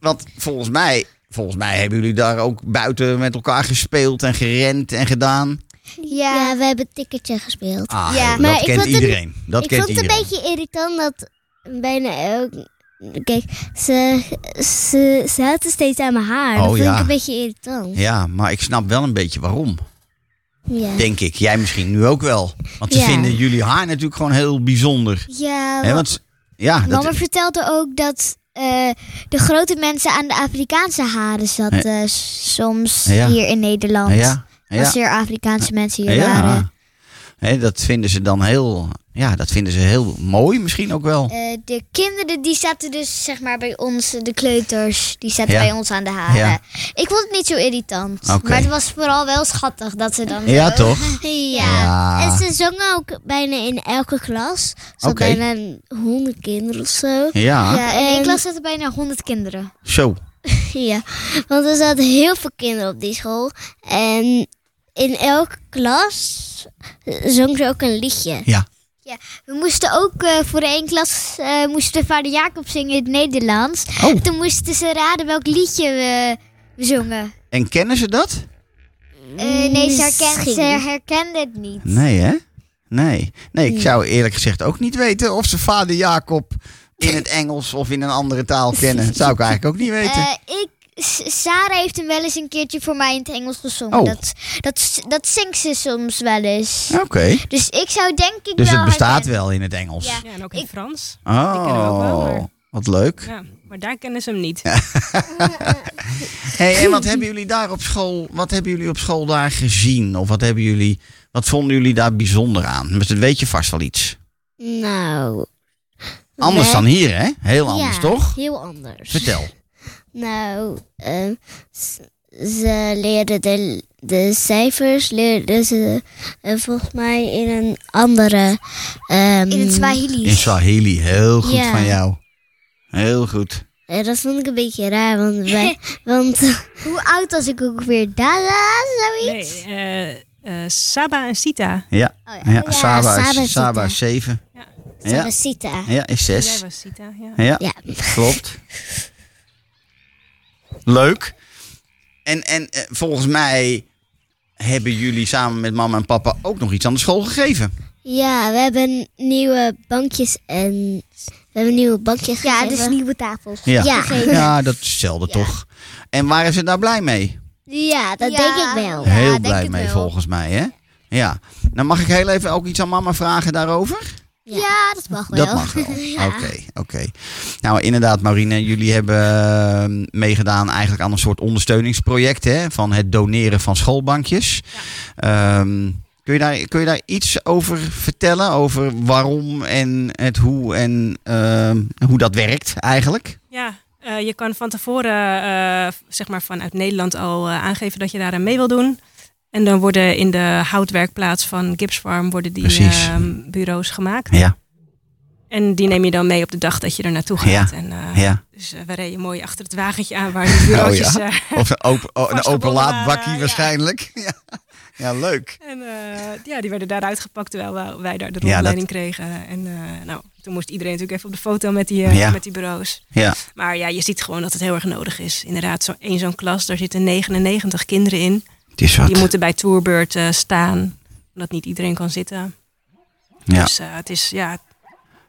S3: Want volgens mij, volgens mij hebben jullie daar ook buiten met elkaar gespeeld en gerend en gedaan.
S6: Ja.
S4: Ja, we hebben tikkertje gespeeld.
S3: Ah,
S6: Ja.
S3: dat
S6: Maar
S4: ik
S3: kent
S4: vond het-
S3: iedereen. dat
S4: ik
S3: kent
S4: vond het
S3: iedereen.
S4: een beetje irritant dat bijna elk... Kijk, ze, ze zaten steeds aan mijn haar.
S3: Oh,
S4: dat vind
S3: ja.
S4: ik een beetje irritant.
S3: Ja, maar ik snap wel een beetje waarom.
S4: Ja.
S3: Denk ik. Jij misschien nu ook wel. Want ze
S4: Ja.
S3: vinden jullie haar natuurlijk gewoon heel bijzonder.
S6: Ja,
S3: Hè, want, ze- ja, dat,
S6: Mama vertelde ook dat eh, de grote mensen aan de Afrikaanse haren zaten soms
S3: Ja.
S6: hier in Nederland.
S3: ja, ja,
S6: Als er Afrikaanse mensen hier waren.
S3: ja. Hè, dat vinden ze dan heel, ja, dat vinden ze heel mooi misschien ook wel.
S6: Eh, de kinderen die zaten dus zeg maar bij ons, eh, de kleuters, die zaten
S3: Ja.
S6: bij ons aan de haren.
S3: Ja.
S6: Ik vond het niet zo irritant.
S3: Oké.
S6: Maar het was vooral wel schattig dat ze dan...
S3: Ja,
S6: zo-
S3: toch?
S4: Ja.
S3: Ja.
S4: En ze zongen ook bijna in elke klas. Er zat
S3: Oké.
S4: bijna honderd kinderen of zo.
S3: Ja,
S6: Ja, in één
S4: En-
S6: klas zaten bijna honderd kinderen.
S3: zo.
S4: Ja, want er zaten heel veel kinderen op die school. En in elke klas
S6: eh,
S4: zong ze ook een liedje.
S3: Ja.
S6: We moesten ook eh, voor één klas eh, moesten vader Jacob zingen in het Nederlands.
S3: Oh.
S6: Toen moesten ze raden welk liedje we, we zongen.
S3: En kennen ze dat?
S6: Eh, nee, ze, herken,
S4: Misschien.
S6: ze herkende het niet.
S3: Nee, hè? Nee. Nee, ik zou eerlijk gezegd ook niet weten of ze vader Jacob in het Engels of in een andere taal kennen. Dat zou ik eigenlijk ook niet weten.
S6: Eh, ik, S- Sarah heeft hem wel eens een keertje voor mij in het Engels gezongen.
S3: Oh.
S6: Dat, dat, dat zingt ze soms wel eens.
S3: Oké.
S6: Dus ik zou denk ik
S3: Dus
S6: wel
S3: het bestaat
S6: herkennen.
S3: wel in het Engels.
S6: Ja.
S5: Ja, en ook in Frans. kennen we ook wel,
S3: Oh,
S5: maar-
S3: wat leuk.
S5: Ja, maar daar kennen ze hem niet.
S3: Hey, en wat hebben jullie daar op school? Wat hebben jullie op school daar gezien? Of wat hebben jullie? Wat vonden jullie daar bijzonder aan? Dus Dat weet je vast wel iets.
S4: Nou.
S3: Anders
S4: we-
S3: dan hier, hè? Heel anders,
S4: Ja,
S3: toch?
S4: Heel anders.
S3: Vertel.
S4: Nou, ehm, s- ze leerden de, de cijfers, leerden ze eh, volgens mij in een andere. ehm,
S6: In het Swahili.
S3: In Swahili, heel goed
S4: Ja.
S3: van jou. Heel goed.
S4: eh, dat vond ik een beetje raar, want, wij, want
S6: Hoe oud was ik ook weer? Dada, zoiets?
S5: Nee, eh, eh, Saba en Sita.
S3: Ja,
S6: Oh
S3: ja, Saba,
S4: Saba
S3: is,
S4: is
S3: Saba
S4: het,
S3: is 7.
S5: Ja.
S4: ja.
S3: Ja, ja, is
S5: Jij
S3: 6.
S5: was Sita, Dus- ja.
S3: Ja,
S4: Ja.
S3: klopt. Leuk. En, en eh, volgens mij hebben jullie samen met mama en papa ook nog iets aan de school gegeven.
S4: Ja, we hebben nieuwe bankjes en we hebben nieuwe bankjes.
S6: Ja,
S4: gegeven.
S6: dus nieuwe tafels.
S3: Ja,
S4: Ja.
S3: Ja, dat is hetzelfde toch. En waren ze daar blij mee?
S4: Ja, dat
S6: Ja.
S4: denk ik wel.
S6: Ja,
S3: heel
S6: denk
S3: blij
S6: het
S3: mee
S6: wel.
S3: volgens mij, hè? Ja. Nou mag ik heel even ook iets aan mama vragen daarover?
S6: Ja, dat mag wel.
S3: Dat mag wel. Oké, oké. Nou, inderdaad, Marine, jullie hebben eh, meegedaan eigenlijk aan een soort ondersteuningsproject hè, van het doneren van schoolbankjes. Ehm, kun, je daar, kun je daar iets over vertellen? Over waarom en het hoe en ehm, hoe dat werkt eigenlijk?
S5: Ja, eh, je kan van tevoren eh, zeg maar vanuit Nederland al eh, aangeven dat je daar aan mee wil doen. En dan worden in de houtwerkplaats van Gibbs Farm worden die
S3: Precies.
S5: ehm, bureaus gemaakt.
S3: Ja,
S5: En die neem je dan mee op de dag dat je er naartoe gaat. En, eh,
S3: ja. Oh,
S5: Dus eh, we reden mooi achter het wagentje aan waar die bureautjes... eh,
S3: Of een open, o- een open
S5: Vastgebonden waren,
S3: laadbakkie
S5: ja.
S3: waarschijnlijk. Ja. Ja, leuk.
S5: En eh, ja, die werden daaruit gepakt terwijl wij- wij daar de
S3: Ja, dat-
S5: rondleiding kregen. En eh, nou, toen moest iedereen natuurlijk even op de foto met die, eh,
S3: Ja.
S5: met die bureaus.
S3: Ja,
S5: Maar ja, je ziet gewoon dat het heel erg nodig is. Inderdaad, zo, in zo'n klas, daar zitten 99 kinderen in.
S3: het is wat.
S5: Die moeten bij tourbeurt eh, staan, omdat niet iedereen kan zitten.
S3: Ja.
S5: Dus eh, het is, ja...
S3: Vind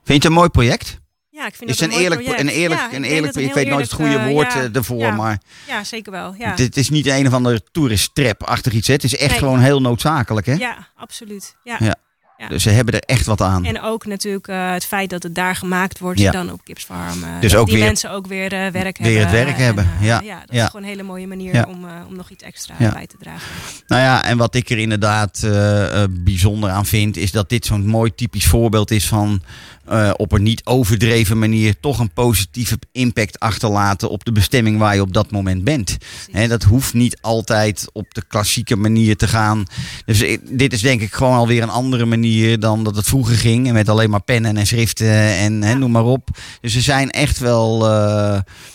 S3: je het een mooi project?
S5: Ja, ik vind
S3: Is
S5: dat
S3: een
S5: mooi
S3: eerlijk,
S5: project.
S3: een eerlijk,
S5: Ja, ik
S3: een
S5: denk
S3: eerlijk,
S5: dat het
S3: ik
S5: een
S3: weet
S5: heel
S3: nooit het goede
S5: eerlijk, eh,
S3: woord
S5: ja,
S3: eh, ervoor,
S5: ja,
S3: maar
S5: Ja, zeker wel. Ja,
S3: dit is niet een of andere toeristrap achtig iets. Hè? Het is echt
S5: Nee.
S3: gewoon heel noodzakelijk, hè?
S5: ja absoluut. Ja.
S3: Ja.
S5: ja.
S3: Dus ze hebben er echt wat aan.
S5: En ook natuurlijk eh, het feit dat het daar gemaakt wordt,
S3: Ja.
S5: dan op Kips Farm. eh,
S3: Dus
S5: dat
S3: ook
S5: die
S3: weer-
S5: mensen ook weer eh, werk
S3: weer het
S5: hebben.
S3: werk hebben,
S5: eh,
S3: ja,
S5: dat
S3: ja.
S5: is gewoon een hele mooie manier
S3: Ja.
S5: om, eh, om nog iets extra
S3: Ja.
S5: bij te dragen.
S3: Nou ja, en wat ik er inderdaad eh, eh, bijzonder aan vind, is dat dit zo'n mooi typisch voorbeeld is van eh, op een niet overdreven manier toch een positieve impact achterlaten op de bestemming waar je op dat moment bent. Hè, dat hoeft niet altijd op de klassieke manier te gaan. Dus ik- dit is denk ik gewoon alweer een andere manier dan dat het vroeger ging. En met alleen maar pennen en schriften en hè, noem maar op. Dus ze zijn echt wel eh,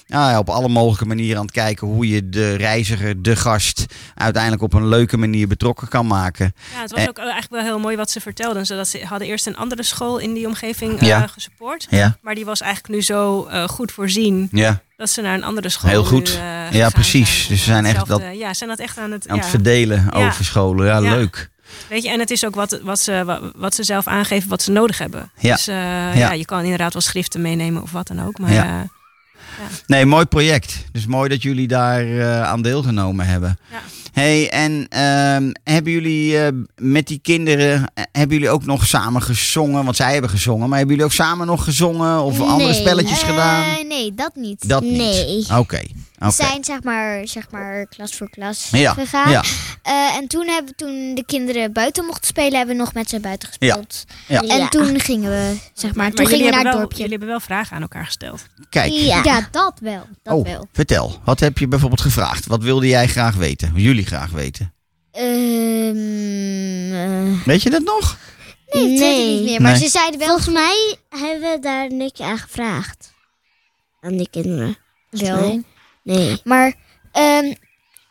S3: nou ja, op alle mogelijke manieren aan het kijken hoe je de reiziger, de gast, uiteindelijk op een leuke manier betrokken kan maken.
S5: Ja, het was
S3: Eh.
S5: ook eigenlijk wel heel mooi wat ze vertelden. Zodat ze hadden eerst een andere school in die omgeving eh,
S3: Ja.
S5: gesupport.
S3: Ja,
S5: Maar die was eigenlijk nu zo eh, goed voorzien
S3: ja.
S5: dat ze naar een andere school
S3: Heel
S5: nu,
S3: goed.
S5: eh,
S3: Ja,
S5: gegaan
S3: precies.
S5: zijn.
S3: Dus ze zijn echt
S5: Hetzelfde- Ja, ze zijn dat echt aan het...
S3: aan het
S5: ja.
S3: verdelen
S5: Ja.
S3: over scholen. Ja,
S5: Ja.
S3: leuk.
S5: Weet je, en het is ook wat, wat, ze, wat, wat ze zelf aangeven wat ze nodig hebben.
S3: Ja.
S5: Dus eh, ja. je kan inderdaad wel schriften meenemen of wat dan ook. Maar
S3: Ja.
S5: eh,
S3: Nee, mooi project. Dus mooi dat jullie daar eh, aan deelgenomen hebben.
S5: Ja.
S3: Hey, en ehm, hebben jullie eh, met die kinderen, eh, hebben jullie ook nog samen gezongen? Want zij hebben gezongen, maar hebben jullie ook samen nog gezongen of andere
S4: Nee.
S3: spelletjes
S6: Eh,
S3: gedaan?
S6: nee, dat niet.
S3: Dat
S4: nee.
S3: niet. Oké. oké.
S6: We zijn zeg maar, zeg maar klas voor klas
S3: Ja,
S6: gegaan.
S3: ja.
S6: Eh, en toen, hebben, toen de kinderen buiten mochten spelen, hebben we nog met ze buiten gespeeld.
S3: Ja.
S6: En toen gingen we, zeg maar, toen
S5: jullie
S6: gingen we naar
S5: hebben
S6: het
S5: wel,
S6: dorpje.
S5: Jullie hebben wel vragen aan elkaar gesteld.
S3: Kijk.
S6: Ja. dat wel. Dat
S3: oh,
S6: wel.
S3: vertel. Wat heb je bijvoorbeeld gevraagd? Wat wilde jij graag weten? Jullie graag weten.
S6: Ehm, eh,
S3: Weet je dat nog?
S6: nee, dat weet ik
S4: Nee.
S6: niet meer. Maar
S3: Nee.
S6: ze zeiden wel,
S4: Volgens mij hebben we daar niks aan gevraagd. Aan die kinderen.
S6: wel.
S4: Nee.
S6: Maar ehm,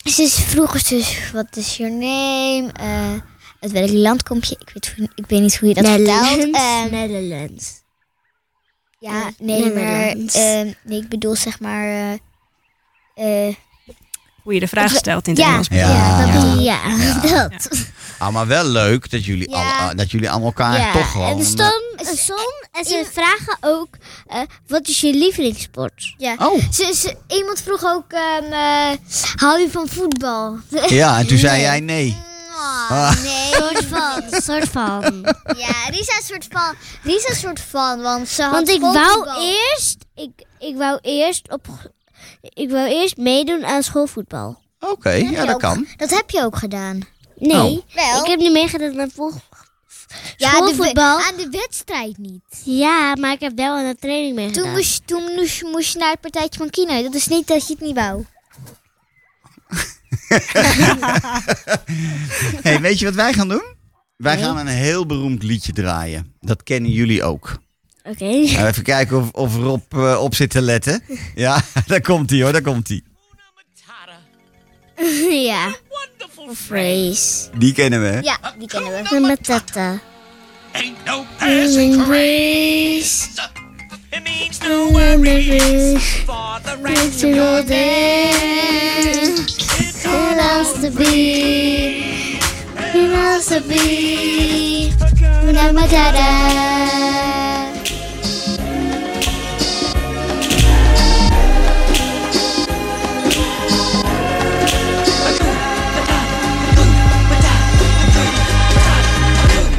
S6: ze vroegen dus, wat is your name? Eh, uit welk land kom je? Ik weet, hoe- ik weet niet hoe je dat vertaalt. Ehm,
S4: Netherlands.
S6: Ja,
S4: Eh,
S6: nee, maar
S4: Nederlands.
S6: ehm, nee, ik bedoel zeg maar. eh, eh,
S5: Hoe je de vraag stelt in het
S6: ja.
S5: Engels.
S3: Ja.
S4: Ja, dat, ja,
S3: Ja.
S4: dat.
S3: Ah, maar wel leuk dat jullie,
S6: Ja.
S3: al, eh, dat jullie aan elkaar
S6: Ja,
S3: toch gewoon... eh,
S4: En soms, soms en ze vragen ook, eh, wat is je lievelingssport?
S6: ja.
S3: Oh,
S6: Ze, ze- iemand vroeg ook. ehm, eh,
S4: Eh, hou je van voetbal?
S3: ja, en toen zei jij nee.
S6: mwah,
S3: Ah.
S6: Nee,
S4: soort van, soort van.
S6: ja, Risa is een soort van. Risa is een soort van, want ze had.
S4: Want ik
S6: volleybal.
S4: wou eerst, ik, ik wou eerst op, ik wou eerst meedoen aan schoolvoetbal.
S3: Oké, ja,
S6: je
S3: dat
S6: ook.
S3: kan.
S6: Dat heb je ook gedaan.
S4: Nee,
S3: Oh.
S6: Wel.
S4: ik heb niet meegedaan aan vol-
S6: de we-
S4: schoolvoetbal.
S6: aan de wedstrijd niet.
S4: Ja, maar ik heb wel aan de training meegedaan.
S6: Toen, moest, je- toen moest, je- moest je naar het partijtje van Kino. Dat is niet dat je het niet wou.
S3: Hey, weet je wat wij gaan doen? Wij gaan een heel beroemd liedje draaien. Dat kennen jullie ook.
S4: Oké.
S3: Nou, even kijken of, of Rob eh, op zit te letten. Ja, daar komt hij hoor, daar komt hij.
S4: ja. Phrase.
S3: Die kennen we. hè?
S6: Ja, die kennen we.
S4: Een matata.
S2: Ain't no past
S4: Phrase.
S2: It means no worries for the rest of your
S4: There.
S2: It's
S4: Who loves to be? Who loves to be?
S2: all
S4: Una matata.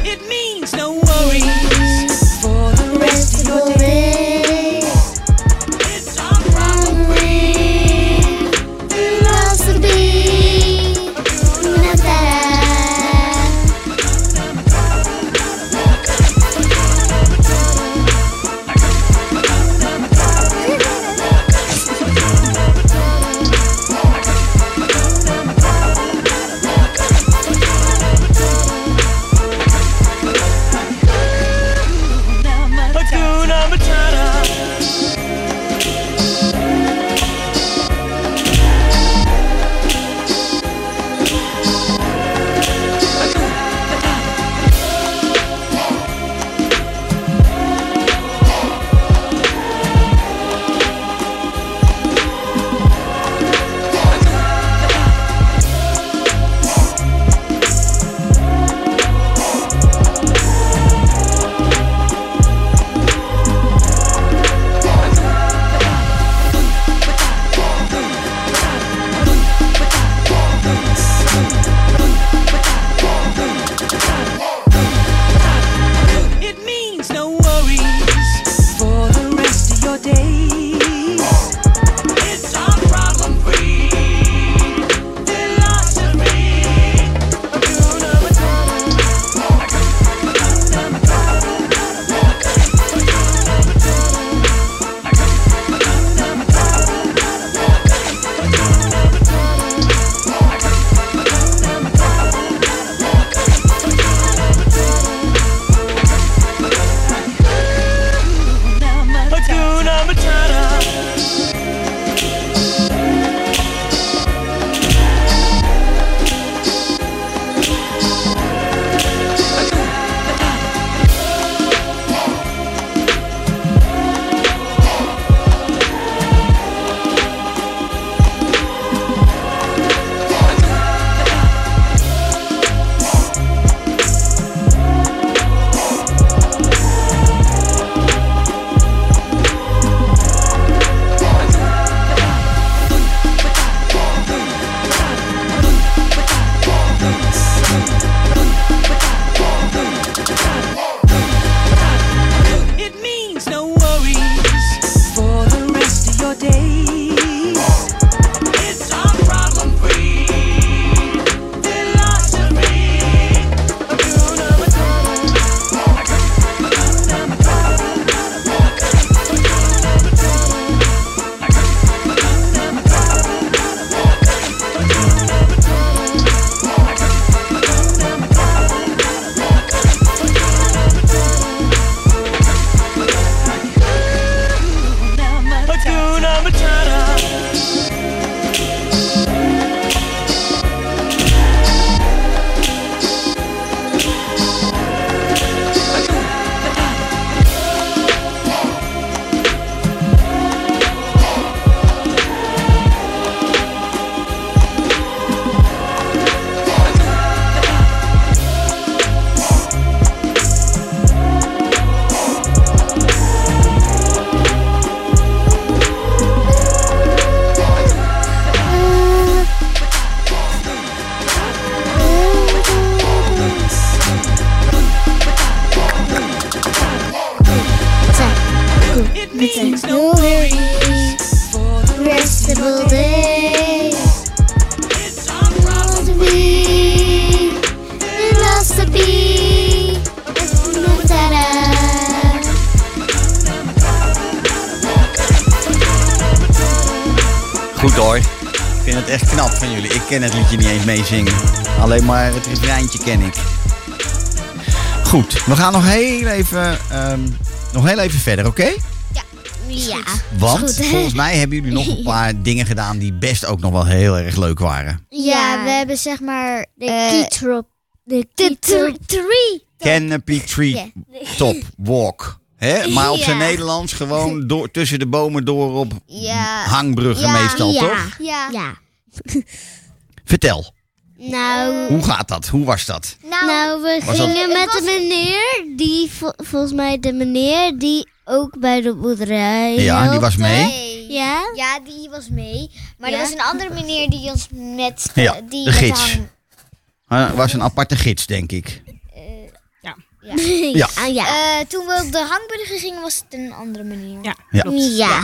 S2: It means no worries for the rest of your It's all right.
S4: Matata. means no worries for the restable days. It's our problem to be, it must to be. Ta-da.
S3: Goed hoor. Ik vind het echt knap van jullie. Ik ken het liedje niet eens meezingen. Alleen maar het refreintje ken ik. Goed, we gaan nog heel even, ehm, nog heel even verder, oké?
S6: Ja.
S3: Want
S6: Is goed.
S3: volgens mij hebben jullie nog een paar dingen gedaan die best ook nog wel heel erg leuk waren.
S6: Ja, we
S4: hebben zeg maar de key trop. De
S6: Eh, De tr- tree.
S3: Canopy Tree Top Walk. hè? maar op zijn
S6: Ja.
S3: Nederlands gewoon door, tussen de bomen door op
S6: Ja.
S3: hangbruggen
S6: Ja,
S3: meestal,
S6: ja.
S3: toch?
S6: Ja.
S3: Vertel,
S4: Nou,
S3: hoe gaat dat? Hoe was dat?
S6: Nou,
S4: nou, we
S3: Was dat-
S4: gingen met de meneer, die vo- volgens mij de meneer die ook bij de boerderij
S3: Ja, die
S4: hielp.
S3: was mee.
S6: nee.
S4: Ja?
S6: Ja, die was mee. Maar
S4: Ja?
S6: er was een andere meneer die ons met
S3: Ja,
S6: die
S3: de
S6: met
S3: gids.
S6: hang-
S3: Eh, was een aparte gids, denk ik. Ja.
S4: Ah, ja.
S6: Eh, toen we op de hangburger gingen, was het een andere manier.
S5: Ja,
S3: Ja.
S5: klopt.
S4: Ja.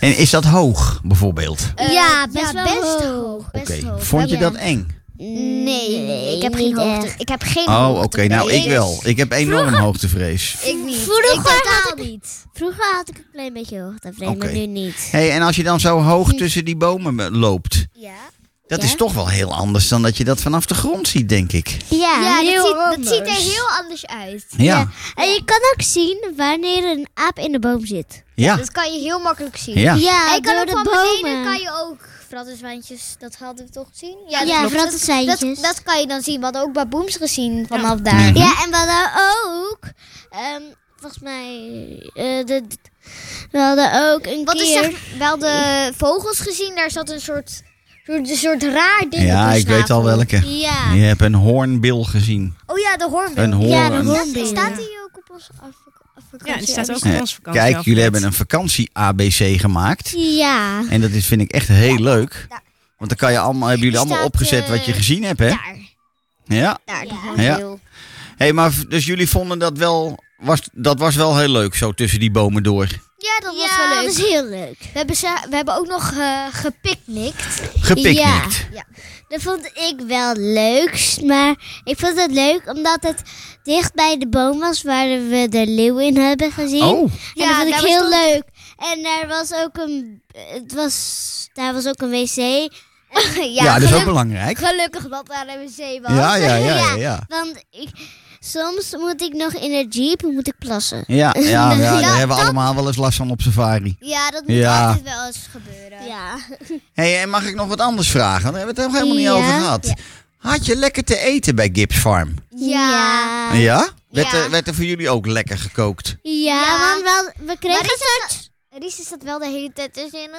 S3: En is dat hoog, bijvoorbeeld?
S6: Eh,
S4: Ja, best wel hoog.
S6: Best
S3: Oké,
S6: hoog.
S3: vond je
S6: Ja.
S3: dat eng?
S6: Nee, nee, ik heb geen
S4: niet
S6: hoogte.
S4: echt.
S6: Ik heb geen
S3: Oh, oké.
S6: hoogte.
S3: Nou,
S6: nee.
S3: ik wel. Ik heb enorm hoogtevrees.
S6: Ik niet.
S4: Vroeger
S6: ik
S4: had
S6: totaal
S4: ik-
S6: niet.
S4: Vroeger had ik een klein beetje hoogtevrees,
S3: Oké.
S4: maar nu niet.
S3: hey, en als je dan zo hoog tussen die bomen me- loopt,
S6: Ja,
S3: dat
S4: Ja?
S3: is toch wel heel anders dan dat je dat vanaf de grond ziet, denk ik.
S4: Ja,
S6: ja
S4: heel
S6: dat, ziet,
S4: anders.
S6: dat ziet er heel anders uit.
S3: Ja, ja.
S4: En je kan ook zien wanneer een aap in de boom zit.
S3: ja.
S6: Dat kan je heel makkelijk zien.
S3: ja.
S4: Ja,
S6: en je kan
S4: door
S6: ook
S4: de
S6: van beneden
S4: bomen.
S6: kan je ook frattenzwijntjes, dat hadden we toch gezien?
S4: Ja,
S6: dat klopt.
S4: frattenzwijntjes.
S6: Dat, dat, dat kan je dan zien. We hadden ook baboems gezien vanaf daar.
S3: Mhm.
S4: Ja, en we hadden ook, ehm, volgens mij, eh, de, we hadden ook een
S6: Wat is
S4: keer...
S6: zeg, wel de vogels gezien? Daar zat een soort, soort, een soort raar ding op hun
S3: ik weet al
S6: snavel.
S3: welke.
S4: Ja.
S3: Je hebt een hoornbil gezien.
S6: Oh ja, de hoornbil.
S3: Een hoorn.
S4: Ja, de hoorn.
S6: Staat- Staat
S4: Hoornbill.
S6: die ook op ons af- afvakantie?
S5: Ja, die staat ook
S3: Ja.
S5: op ons vakantie.
S3: Kijk, jullie hebben een vakantie-ABC gemaakt.
S4: Ja.
S3: En dat is, vind ik echt heel leuk. Want dan kan je allemaal, hebben jullie
S6: Die
S3: allemaal
S6: staat,
S3: opgezet wat je
S6: eh,
S3: gezien hebt, hè?
S6: Daar,
S3: Ja.
S6: daar, de
S4: Ja.
S6: hoornbill.
S3: hey, maar v- dus jullie vonden dat wel, was, dat was wel heel leuk, zo tussen die bomen door.
S6: Ja, dat was
S4: ja,
S6: wel leuk.
S4: dat is heel leuk.
S6: We hebben, ze, we hebben ook nog eh gepicnict.
S3: Gepiknikt.
S4: Dat vond ik wel leuk, maar ik vond het leuk omdat het dicht bij de boom was waar we de leeuw in hebben gezien.
S3: Oh,
S4: En
S6: Ja,
S4: dat vond
S6: daar
S4: ik heel
S6: was
S4: leuk. En daar was ook een, het was, daar was ook een wc.
S3: ja, dat is ook belangrijk.
S6: Gelukkig dat daar een wc was.
S3: Ja, ja, ja, ja.
S4: Ja.
S3: ja.
S4: Want ik, soms moet ik nog in de jeep, moet ik plassen.
S3: Ja, ja, ja, daar
S6: Ja,
S3: hebben we
S6: dat-
S3: allemaal wel eens last van op safari.
S6: Ja, dat moet
S3: Ja.
S6: altijd wel eens gebeuren.
S4: Ja.
S3: hey, en mag ik nog wat anders vragen? Daar hebben we het nog helemaal
S4: Ja.
S3: niet over gehad. Had je lekker te eten bij Gibbs Farm?
S6: Ja.
S4: Ja,
S3: ja? Werd,
S6: Ja.
S3: Er, werd er voor jullie ook lekker gekookt?
S4: Ja, want wel, we kregen
S6: Maar
S4: een
S6: is het
S4: soort...
S6: Ries is dat wel de hele tijd tussenin.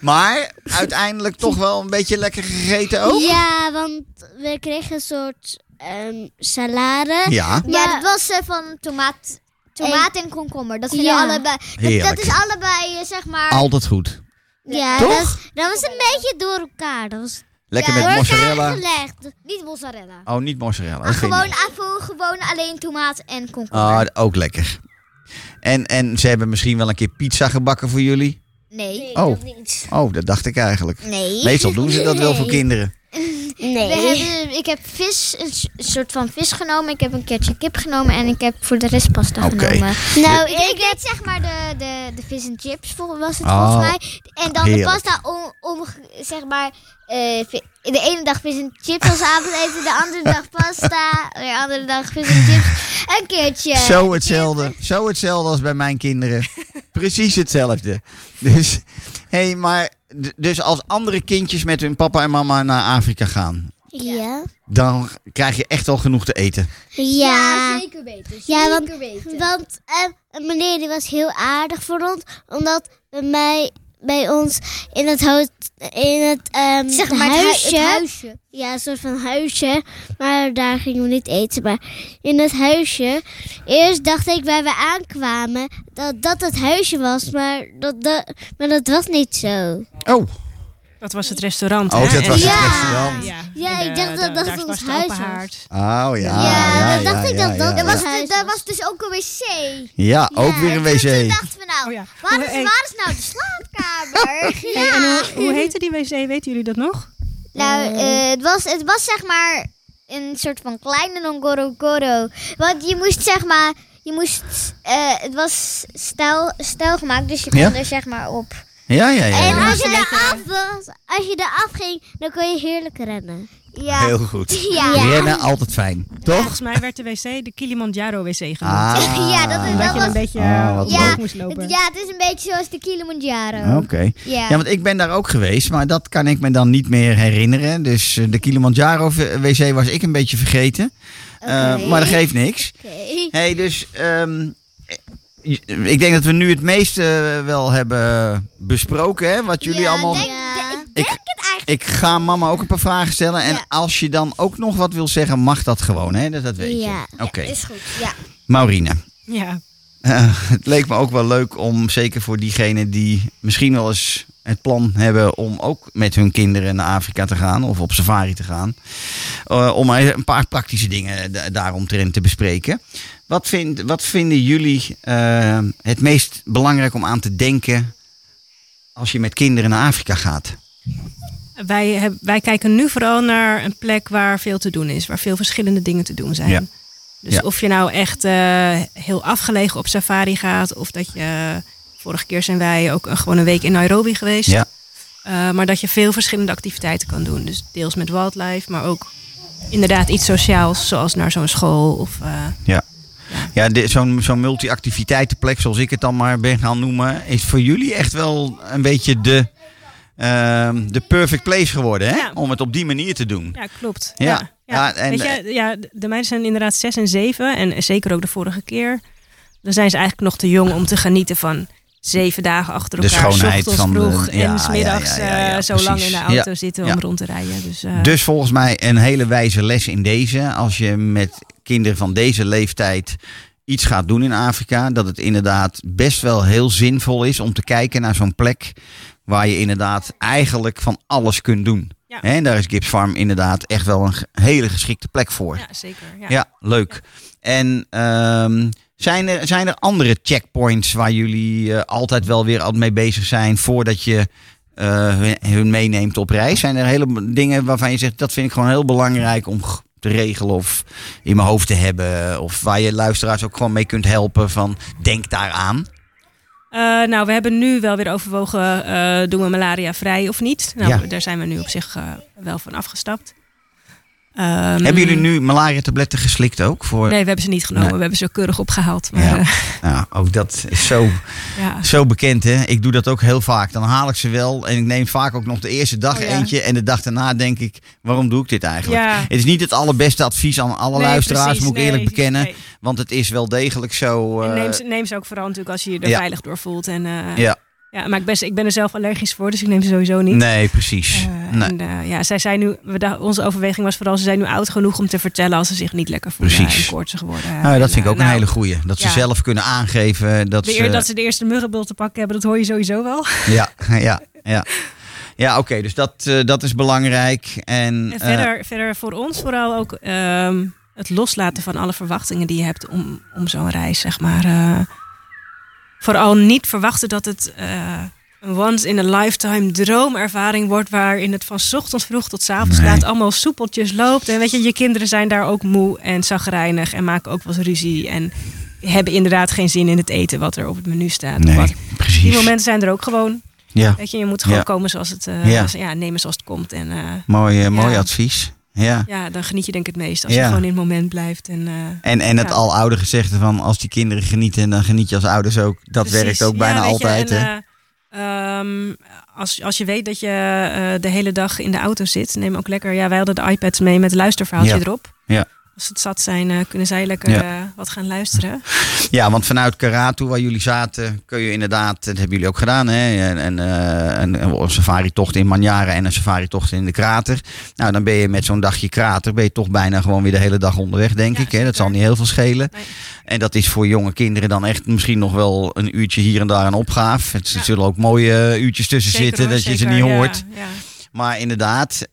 S3: Maar uiteindelijk toch wel een beetje lekker gegeten ook?
S4: Ja, want we kregen een soort ehm, salade.
S3: Ja.
S6: Ja,
S4: Maar-
S6: dat was eh, van tomaat, tomaat en komkommer. Dat vinden
S4: Ja.
S6: allebei. Dat,
S3: Heerlijk.
S6: dat is allebei, eh, zeg maar.
S3: Altijd goed.
S4: Ja,
S3: Toch?
S4: Dat, dat was een beetje door elkaar. Dat was
S3: Lekker
S6: Ja,
S3: met
S4: door elkaar
S3: mozzarella.
S4: gelegd.
S6: Niet mozzarella.
S3: Oh, niet mozzarella.
S6: Maar
S3: dat vind ik
S6: gewoon
S3: niet.
S6: appel, gewoon alleen tomaat en komkommer.
S3: Ah, ook lekker. En, en ze hebben misschien wel een keer pizza gebakken voor jullie?
S6: nee.
S3: Oh, oh dat dacht ik eigenlijk.
S6: Nee.
S3: Meestal doen ze dat wel voor kinderen.
S6: We hebben, ik heb vis, een s- soort van vis genomen. Ik heb een keertje kip genomen. En ik heb voor de rest pasta
S3: Oké.
S6: genomen.
S4: Nou,
S6: Ik,
S4: ik,
S6: ik deed zeg maar de, de, de vis en chips, vol- was het
S3: Oh,
S6: volgens mij. En dan
S3: heerlijk.
S6: de pasta om, om zeg maar... eh, vi- de ene dag vis en chips als avondeten. De andere dag pasta. De andere dag vis en chips. Een keertje.
S3: Zo hetzelfde. Zo hetzelfde als bij mijn kinderen. Precies hetzelfde. Dus, hey, maar, d- dus als andere kindjes met hun papa en mama naar Afrika gaan,
S4: ja.
S3: dan krijg je echt wel genoeg te eten.
S4: Ja.
S6: zeker weten.
S4: Ja, want-
S6: zeker weten.
S4: Want eh, een meneer die was heel aardig voor ons. Omdat bij, mij, bij ons in het, hout, in het, ehm,
S6: Zeg maar het hui- het
S4: huisje...
S6: huisje.
S4: Ja, een soort van huisje. Maar daar gingen we niet eten. Maar in het huisje. Eerst dacht ik bij we aankwamen dat dat het huisje was. Maar dat, dat, maar dat was niet zo.
S3: Oh,
S5: Dat was het restaurant.
S3: Oh,
S5: hè?
S3: dat was
S5: En-
S6: het
S3: restaurant.
S5: Ja,
S4: Ja,
S5: En,
S4: ik
S5: eh,
S4: dacht dat
S5: daar-
S4: dat
S5: daar
S4: ons
S5: was de
S4: huis
S5: open
S4: was.
S5: haard.
S3: Oh ja.
S4: Ja,
S6: Ah,
S4: dat dacht ik dat dat
S3: ja.
S6: Er was,
S4: Ja.
S6: de- daar was dus ook een wc.
S3: Ja, ook
S6: Ja,
S3: weer een
S6: en toen- Toen
S3: wc.
S6: dachten we nou,
S5: Oh ja.
S6: waar, is,
S5: Hey.
S6: waar is nou de slaapkamer?
S5: Hey,
S6: ja.
S5: en hoe, hoe heette die wc? Weten jullie dat nog?
S6: Nou, eh, het, was, het was zeg maar een soort van kleine Ngorongoro. Want je moest zeg maar, je moest, eh, het was stijl, stijl gemaakt, dus je kon
S3: Ja.
S6: er zeg maar op.
S3: Ja, ja, ja.
S4: En
S3: ja.
S4: als je, eraf was, als je eraf ging, dan kon je heerlijk rennen.
S6: Ja.
S3: Heel goed.
S6: ja.
S3: Rennen altijd fijn. Toch?
S5: Volgens mij werd de wc de Kilimanjaro wc genoemd.
S3: Ah.
S6: Ja, dat is
S5: dat je
S6: was-
S5: een beetje
S3: Ah,
S5: eh,
S3: wat
S5: omhoog
S6: leuk.
S5: moest lopen.
S6: ja, het is een beetje zoals de Kilimanjaro.
S3: Oké.
S6: Ja.
S3: Ja, want ik ben daar ook geweest, maar dat kan ik me dan niet meer herinneren. Dus eh, de Kilimanjaro v- wc was ik een beetje vergeten. Eh,
S6: Oké.
S3: maar dat geeft niks.
S6: Oké.
S3: Hey, dus ehm, eh, ik denk dat we nu het meeste eh, wel hebben besproken, hè? Wat jullie
S6: Ja,
S3: allemaal...
S6: denk-
S4: Ja.
S6: denk-
S3: ik, ik ga mama ook een paar vragen stellen. En
S6: Ja.
S3: als je dan ook nog wat wil zeggen, mag dat gewoon, hè? Dat, dat weet je.
S4: Ja.
S3: Oké.
S6: Is goed, ja.
S3: Maurine,
S5: Ja.
S3: eh, het leek me ook wel leuk om, zeker voor diegenen die misschien wel eens het plan hebben om ook met hun kinderen naar Afrika te gaan of op safari te gaan, eh, om maar een paar praktische dingen da- daaromtrent te bespreken. Wat, vind, wat vinden jullie eh, het meest belangrijk om aan te denken als je met kinderen naar Afrika gaat?
S5: Wij, heb- wij kijken nu vooral naar een plek waar veel te doen is. Waar veel verschillende dingen te doen zijn.
S3: Ja.
S5: Dus
S3: Ja.
S5: of je nou echt eh, heel afgelegen op safari gaat. Of dat je... Vorige keer zijn wij ook een- gewoon een week in Nairobi geweest.
S3: Ja.
S5: Eh, maar dat je veel verschillende activiteiten kan doen. Dus deels met wildlife, maar ook inderdaad iets sociaals. Zoals naar zo'n school of... eh,
S3: Ja. Ja, dit- zo'n zo'n multi-activiteitenplek, zoals ik het dan maar ben gaan noemen, is voor jullie echt wel een beetje de, ehm, de perfect place geworden, hè?
S5: Ja.
S3: Om het op die manier te doen.
S5: Ja, klopt.
S3: Ja. Ja, en- eh,
S5: Weet je, ja, de meiden zijn inderdaad zes en zeven. En zeker ook de vorige keer. Dan zijn ze eigenlijk nog te jong om te genieten van zeven dagen achter
S3: De
S5: elkaar.
S3: schoonheid
S5: S ochtends
S3: van de-
S5: vroeg
S3: ja,
S5: en smiddags
S3: ja, ja, ja, ja,
S5: eh, zo lang in
S3: precies.
S5: de auto
S3: Ja,
S5: zitten om
S3: ja.
S5: rond te rijden. Dus, eh,
S3: Dus volgens mij een hele wijze les in deze. Als je met kinderen van deze leeftijd iets gaat doen in Afrika, dat het inderdaad best wel heel zinvol is om te kijken naar zo'n plek waar je inderdaad eigenlijk van alles kunt doen.
S5: Ja.
S3: Hè, En daar is Gibbs Farm inderdaad echt wel een ge- hele geschikte plek voor.
S5: ja, zeker. Ja.
S3: Ja, leuk. En ehm, zijn, er, zijn er andere checkpoints waar jullie eh, altijd wel weer al mee bezig zijn voordat je eh, hun, hun meeneemt op reis? Zijn er hele b- dingen waarvan je zegt dat vind ik gewoon heel belangrijk om g- te regelen of in mijn hoofd te hebben? Of waar je luisteraars ook gewoon mee kunt helpen van denk daaraan.
S5: Mm. Eh, nou, we hebben nu wel weer overwogen, eh, doen we malaria vrij of niet? Nou,
S3: Ja.
S5: daar zijn we nu op zich eh, wel van afgestapt. Ehm,
S3: Hebben jullie nu malaria tabletten geslikt ook? Voor...
S5: Nee, we hebben ze niet genomen.
S3: Nee.
S5: We hebben ze keurig opgehaald. Maar,
S3: Ja.
S5: eh,
S3: Nou, ook dat is zo
S5: ja.
S3: Zo bekend, hè? Ik doe dat ook heel vaak. Dan haal ik ze wel en ik neem vaak ook nog de eerste dag
S5: Oh, ja.
S3: eentje. En de dag daarna denk ik, waarom doe ik dit eigenlijk?
S5: Ja.
S3: Het is niet het allerbeste advies aan alle
S5: Nee,
S3: luisteraars,
S5: precies,
S3: moet ik
S5: nee, dus
S3: eerlijk bekennen.
S5: nee.
S3: Want het is wel degelijk zo...
S5: En
S3: eh,
S5: neem, ze, neem ze ook vooral natuurlijk als je je er
S3: ja.
S5: veilig door voelt. En, eh, ja.
S3: ja,
S5: maar ik, ben, ik ben er zelf allergisch voor, dus ik neem ze sowieso niet.
S3: nee, precies.
S5: Eh,
S3: nee,
S5: en, eh, ja, zij zijn nu, we dachten- onze overweging was vooral, ze zijn nu oud genoeg om te vertellen als ze zich niet lekker voelen
S3: Precies.
S5: en koortsig worden.
S3: Nou, dat
S5: En,
S3: vind ik
S5: eh,
S3: ook een
S5: nou,
S3: hele Dus, eh, goeie. Dat ze
S5: ja.
S3: zelf kunnen aangeven dat
S5: De
S3: ze...
S5: eer dat ze de eerste muggenbul te pakken hebben, dat hoor je sowieso wel.
S3: Ja, ja, ja. Ja, oké. dus dat, eh, dat is belangrijk. En,
S5: En
S3: eh,
S5: verder, verder voor ons vooral ook ehm, het loslaten van alle verwachtingen die je hebt om, om zo'n reis, zeg maar. eh, vooral niet verwachten dat het eh, een once in a lifetime droomervaring wordt, waarin het van 's ochtends vroeg tot 's avonds
S3: Nee.
S5: laat allemaal soepeltjes loopt. En weet je, je kinderen zijn daar ook moe en zagrijnig en maken ook wel eens ruzie en hebben inderdaad geen zin in het eten wat er op het menu staat. of wat.
S3: nee,
S5: Die
S3: precies.
S5: momenten zijn er ook gewoon.
S3: Ja,
S5: Weet je, je moet gewoon
S3: Ja.
S5: komen zoals het, eh,
S3: Ja.
S5: ja, nemen zoals het komt en... eh,
S3: mooi, eh, mooi
S5: Ja.
S3: advies. Ja.
S5: ja, dan geniet je denk ik het meest als je
S3: Ja.
S5: gewoon in het moment blijft. En, eh,
S3: En, en het
S5: Ja.
S3: al oude gezegde van als die kinderen genieten, dan geniet je als ouders ook. Dat
S5: precies.
S3: werkt ook
S5: Ja,
S3: bijna
S5: weet je,
S3: altijd.
S5: en,
S3: hè?
S5: eh, ehm, als, als je weet dat je eh, de hele dag in de auto zit, neem ook lekker. Ja, wij hadden de iPads mee met luisterverhaaltje
S3: Ja.
S5: erop.
S3: Ja.
S5: Als ze het zat zijn, eh, kunnen zij lekker
S3: Ja.
S5: eh, wat gaan luisteren.
S3: Ja, want vanuit Karatu, waar jullie zaten, kun je inderdaad, dat hebben jullie ook gedaan, hè? Een, een, eh, een, een safari-tocht in Manjara en een safari-tocht in de krater. Nou, dan ben je met zo'n dagje krater, ben je toch bijna gewoon weer de hele dag onderweg, denk
S5: Ja,
S3: ik. Hè? Dat
S5: zeker.
S3: zal niet heel veel schelen.
S5: Nee.
S3: En dat is voor jonge kinderen dan echt misschien nog wel een uurtje hier en daar een opgave. Het, er
S5: Ja.
S3: zullen ook mooie eh, uurtjes tussen
S5: Zeker
S3: zitten,
S5: hoor,
S3: dat je ze
S5: zeker,
S3: niet
S5: ja,
S3: hoort.
S5: ja.
S3: Maar inderdaad,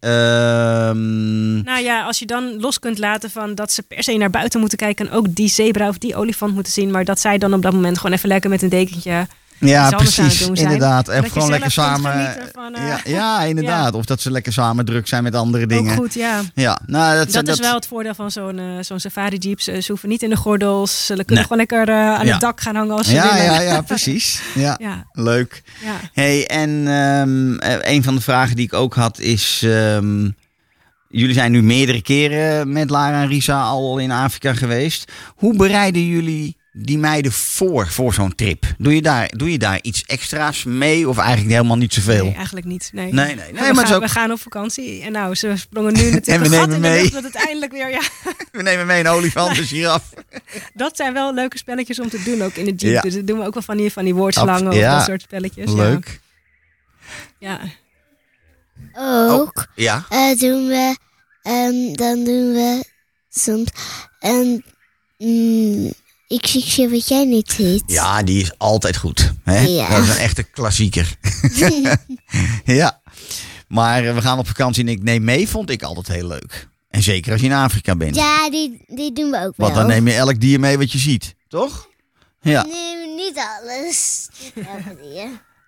S3: ehm,
S5: Nou ja, als je dan los kunt laten van dat ze per se naar buiten moeten kijken. En ook die zebra of die olifant moeten zien. Maar dat zij dan op dat moment gewoon even lekker met een dekentje.
S3: ja,
S5: iets anders aan het
S3: precies.
S5: doen zijn.
S3: Inderdaad.
S5: Dat
S3: Even
S5: je
S3: gewoon
S5: zelf
S3: lekker
S5: kunt
S3: samen.
S5: genieten van, eh,
S3: ja, ja, inderdaad. Of dat ze lekker samen druk zijn met andere dingen.
S5: Ook goed, ja.
S3: Ja, nou, dat,
S5: Dat,
S3: zijn-
S5: is wel het voordeel van zo'n eh, zo'n safari jeep. Ze, ze hoeven niet in de gordels. Ze kunnen gewoon lekker eh, aan
S3: Ja.
S5: het dak gaan hangen als ze
S3: Ja,
S5: willen.
S3: ja, ja, precies. Ja,
S5: ja,
S3: leuk.
S5: ja.
S3: Hey, en ehm, eh, een van de vragen die ik ook had is... ehm, jullie zijn nu meerdere keren met Lara en Risa al in Afrika geweest. Hoe bereiden jullie die meiden voor, voor zo'n trip? Doe je, daar, doe je daar iets extra's mee of eigenlijk helemaal niet zoveel?
S5: Nee, eigenlijk niet. Nee, Nou,
S3: Nee, nee, nee,
S5: We,
S3: maar
S5: gaan,
S3: het is ook-
S5: we gaan op vakantie. En nou, ze sprongen nu natuurlijk
S3: En we
S5: een gat
S3: nemen
S5: in de
S3: mee.
S5: lucht dat het eindelijk weer... Ja,
S3: We nemen mee een olifant, dus een giraf.
S5: dat zijn wel leuke spelletjes om te doen ook in de jeep.
S3: Ja.
S5: Dus dat doen we ook wel van die, van die woordslangen
S3: Ab-
S5: of
S3: ja.
S5: dat soort spelletjes. ja.
S3: Leuk.
S5: Ja.
S4: Ook
S3: Oh, Ja?
S4: eh, doen we, ehm, dan doen we soms. En
S6: Mm,
S4: ik zie je wat jij niet ziet.
S3: Ja, die is altijd goed. Hè?
S4: Ja.
S3: Dat is een echte klassieker. ja. Maar eh, we gaan op vakantie en ik neem mee, vond ik altijd heel leuk. En zeker als je in Afrika bent.
S4: Ja, die, die doen we ook
S3: Want dan neem je elk dier mee wat je ziet, toch? Ja.
S4: Nee, niet alles. Niet elke keer.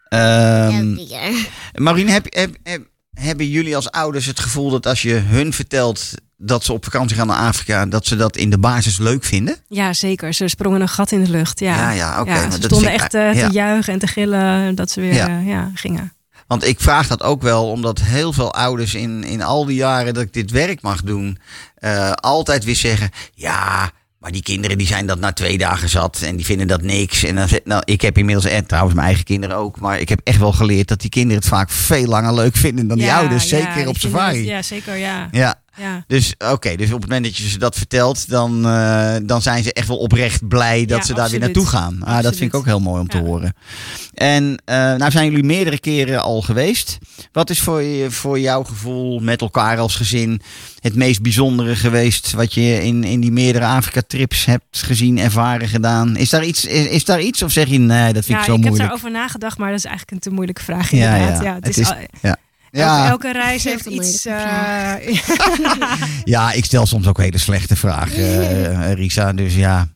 S3: Ehm
S4: Elke keer.
S3: Marien, heb, heb, heb- hebben jullie als ouders het gevoel dat als je hun vertelt dat ze op vakantie gaan naar Afrika, dat ze dat in de basis leuk vinden?
S5: ja, zeker. Ze sprongen een gat in de lucht. Ja,
S3: Ja, ja, oké, maar
S5: ze
S3: dat
S5: stonden
S3: vind ik-
S5: echt eh,
S3: ja.
S5: te juichen en te gillen dat ze weer
S3: Ja.
S5: ja. ja, gingen.
S3: Want ik vraag dat ook wel, omdat heel veel ouders in, in al die jaren dat ik dit werk mag doen, eh, altijd weer zeggen: ja. Maar die kinderen die zijn dat na twee dagen zat en die vinden dat niks. En dan, zit- nou, ik heb inmiddels, en trouwens mijn eigen kinderen ook, maar ik heb echt wel geleerd dat die kinderen het vaak veel langer leuk vinden dan die
S5: Ja,
S3: ouders.
S5: ja,
S3: Zeker
S5: die
S3: op
S5: kinderen-
S3: safari.
S5: ja, zeker. Ja.
S3: ja.
S5: Ja.
S3: Dus oké, dus op het moment dat je ze dat vertelt, dan, eh, dan zijn ze echt wel oprecht blij dat
S5: Ja,
S3: ze daar weer
S5: absoluut.
S3: naartoe gaan. Ah, dat vind
S5: Absoluut.
S3: ik ook heel mooi om te
S5: Ja.
S3: horen. En eh, nou zijn jullie meerdere keren al geweest. Wat is voor, je, voor jouw gevoel met elkaar als gezin het meest bijzondere geweest wat je in, in die meerdere Afrika-trips hebt gezien, ervaren, gedaan? Is daar iets, is, is daar iets of zeg je nee, dat vind
S5: Ja,
S3: ik
S5: ik
S3: zo
S5: heb
S3: moeilijk?
S5: daarover nagedacht, maar dat is eigenlijk een te moeilijke vraag inderdaad. Ja, het is, al-
S3: ja.
S5: Elke,
S3: Ja,
S5: elke reis
S4: Heel
S5: heeft
S4: te
S5: iets...
S4: moeilijke
S5: eh,
S3: ja, ik stel soms ook hele slechte vragen, eh, Risa. Dus ja,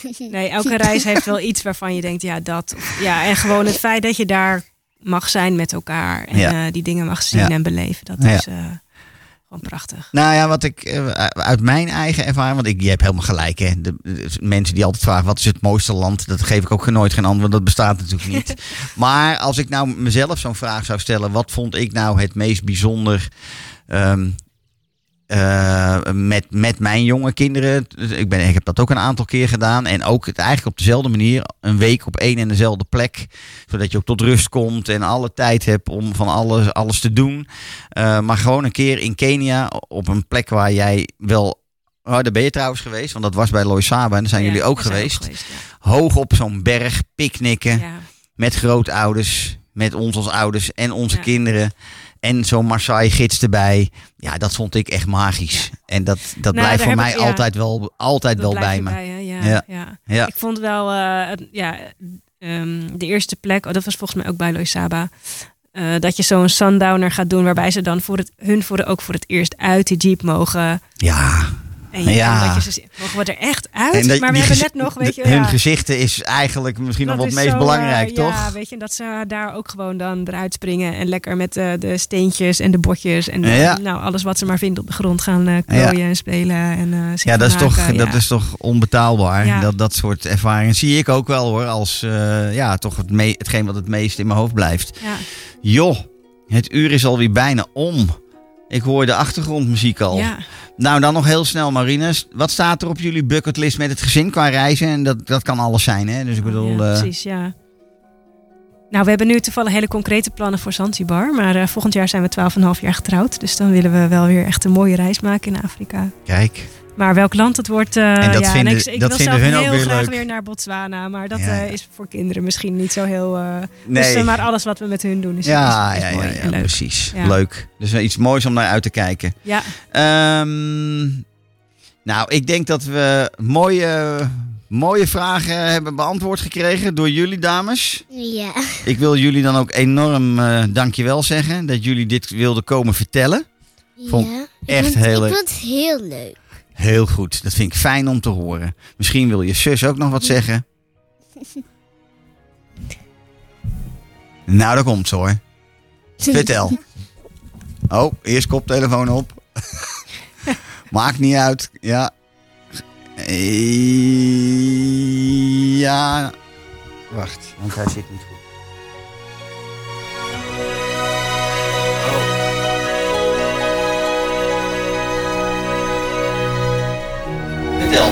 S5: Nee, elke reis heeft wel iets waarvan je denkt, ja, dat. of- Ja, en gewoon het feit dat je daar mag zijn met elkaar. En
S3: Ja.
S5: eh, die dingen mag zien
S3: Ja.
S5: en beleven. Dat
S3: Ja.
S5: is eh, gewoon prachtig.
S3: Nou ja, wat ik eh, uit mijn eigen ervaring, want ik, je hebt helemaal gelijk. Hè. De, de mensen die altijd vragen wat is het mooiste land, dat geef ik ook nooit geen antwoord. want Dat bestaat natuurlijk niet. maar als ik nou mezelf zo'n vraag zou stellen, wat vond ik nou het meest bijzonder ehm, eh, met, met mijn jonge kinderen? Dus Ik, ben, ik heb dat ook een aantal keer gedaan en ook het eigenlijk op dezelfde manier, een week op één en dezelfde plek, zodat je ook tot rust komt en alle tijd hebt om van alles, alles te doen. Eh, maar gewoon een keer in Kenia op een plek waar jij wel. Oh, daar ben je trouwens geweest, want dat was bij Loisaba en daar zijn
S5: Ja,
S3: jullie ook
S5: we zijn
S3: geweest.
S5: ja.
S3: Hoog op zo'n berg, picknicken
S5: Ja.
S3: met grootouders, met ons als ouders en onze
S5: Ja.
S3: kinderen. En zo'n Maasai-gids erbij. Ja, dat vond ik echt magisch. En dat, dat
S5: Nou, daar
S3: blijft voor
S5: heb
S3: mij
S5: ik- ja.
S3: altijd wel, altijd
S5: Dat
S3: wel
S5: blijf
S3: bij
S5: je
S3: me.
S5: hè? ja,
S3: Ja.
S5: ja.
S3: Ja.
S5: Ik vond wel, eh, het- ja, ehm, de eerste plek, oh, dat was volgens mij ook bij Loisaba. eh, dat je zo'n sundowner gaat doen, waarbij ze dan voor het, hun voor de, ook voor het eerst uit die jeep mogen.
S3: Ja.
S5: En je,
S3: Ja.
S5: en dat je ze, mogen we er echt uit?
S3: En dat-
S5: maar we
S3: die
S5: hebben
S3: gezi-
S5: net nog, weet je,
S3: hun
S5: ja.
S3: gezichten is eigenlijk misschien nog
S5: Dat
S3: wel het
S5: is
S3: meest
S5: zo,
S3: belangrijk,
S5: eh,
S3: toch?
S5: Ja, weet je, dat ze daar ook gewoon dan eruit springen en lekker met eh, de steentjes en de botjes en eh,
S3: Ja.
S5: nou, alles wat ze maar vindt op de grond gaan eh klooien en spelen. En, eh, zich
S3: Ja, dat is, toch,
S5: vermaken, ja.
S3: dat is toch onbetaalbaar.
S5: Ja.
S3: Dat, dat soort ervaringen zie ik ook wel hoor. Als eh, ja, toch het me- hetgeen wat het meest in mijn hoofd blijft.
S5: Ja.
S3: Joh, het uur is alweer bijna om. Ik hoor de achtergrondmuziek al.
S5: Ja.
S3: Nou, dan nog heel snel, Marines. Wat staat er op jullie bucketlist met het gezin qua reizen? En dat, dat kan alles zijn, hè? Dus ik bedoel...
S5: Ja,
S3: eh,
S5: precies, ja. Nou, we hebben nu toevallig hele concrete plannen voor Zanzibar. Maar eh, volgend jaar zijn we 12,5 jaar getrouwd. Dus dan willen we wel weer echt een mooie reis maken in Afrika.
S3: kijk.
S5: Maar welk land het wordt. eh,
S3: dat
S5: ja,
S3: vinden-
S5: en ik, ik
S3: dat
S5: wil
S3: vinden
S5: zelf
S3: hun ook
S5: heel
S3: weer
S5: graag
S3: leuk.
S5: weer naar Botswana. Maar dat
S3: Ja,
S5: eh,
S3: ja.
S5: is voor kinderen misschien niet zo heel. eh,
S3: Nee.
S5: Dus eh, maar alles wat we met hun doen is,
S3: ja,
S5: is, is
S3: ja, ja,
S5: mooi
S3: ja,
S5: en leuk.
S3: precies.
S5: Ja.
S3: Leuk. Dus wel iets moois om naar uit te kijken.
S5: Ja,
S3: Ehm, nou, ik denk dat we mooie Mooie vragen hebben beantwoord gekregen door jullie, dames.
S4: Ja.
S3: Ik wil jullie dan ook enorm eh dankjewel zeggen dat jullie dit wilden komen vertellen. Vond
S4: ja. Ik
S3: echt
S4: vond-
S3: heel
S4: Ik
S3: leuk.
S4: vond het heel leuk.
S3: Heel goed, dat vind ik fijn om te horen. Misschien wil je zus ook nog wat zeggen. Nou, dat komt ze hoor. Vertel. Oh, eerst koptelefoon op. Maakt niet uit. Ja. Eh, Ja. Wacht, want hij zit niet goed. Vertel.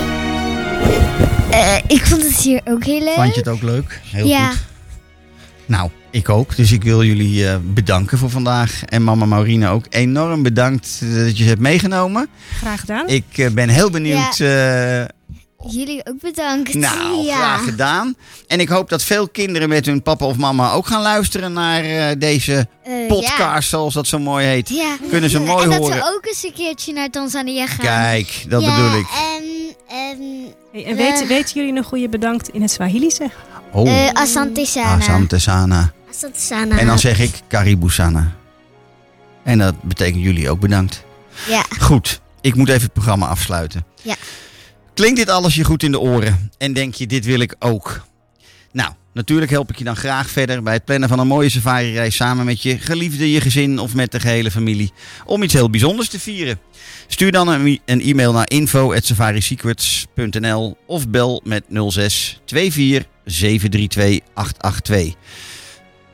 S6: Eh, ik vond het hier ook heel leuk.
S3: Vond je het ook leuk? Heel
S6: ja.
S3: goed. Nou, ik ook. Dus ik wil jullie eh, bedanken voor vandaag. En mama Maurine ook enorm bedankt eh, dat je ze hebt meegenomen.
S5: Graag gedaan.
S3: Ik eh, ben heel benieuwd. eh,
S6: Jullie ook bedankt.
S3: nou,
S6: ja.
S3: graag gedaan. En ik hoop dat veel kinderen met hun papa of mama ook gaan luisteren naar eh, deze
S6: Eh,
S3: podcast, zoals dat zo mooi heet.
S6: Ja. ja.
S3: Kunnen ze mooi
S6: en dat
S3: horen.
S6: we ook eens een keertje naar Tanzania gaan.
S3: Kijk, dat
S4: ja,
S3: bedoel ik.
S4: En, ehm
S5: Hey, en weet, weten jullie nog hoe je bedankt in het Swahili zegt?
S3: Oh,
S6: Eh, Asante Sana.
S3: Asante Sana.
S4: Asante Sana.
S3: Ah, En dan zeg ik Karibu Sana. En dat betekent jullie ook bedankt.
S6: Ja.
S3: Goed, ik moet even het programma afsluiten.
S6: Ja.
S3: Klinkt dit alles je goed in de oren? En denk je, dit wil ik ook? Nou, natuurlijk help ik je dan graag verder bij het plannen van een mooie safari-reis samen met je geliefde, je gezin of met de gehele familie. Om iets heel bijzonders te vieren. Stuur dan een e- een e-mail naar info.safarisecrets.nl of bel met 06 24 732 882.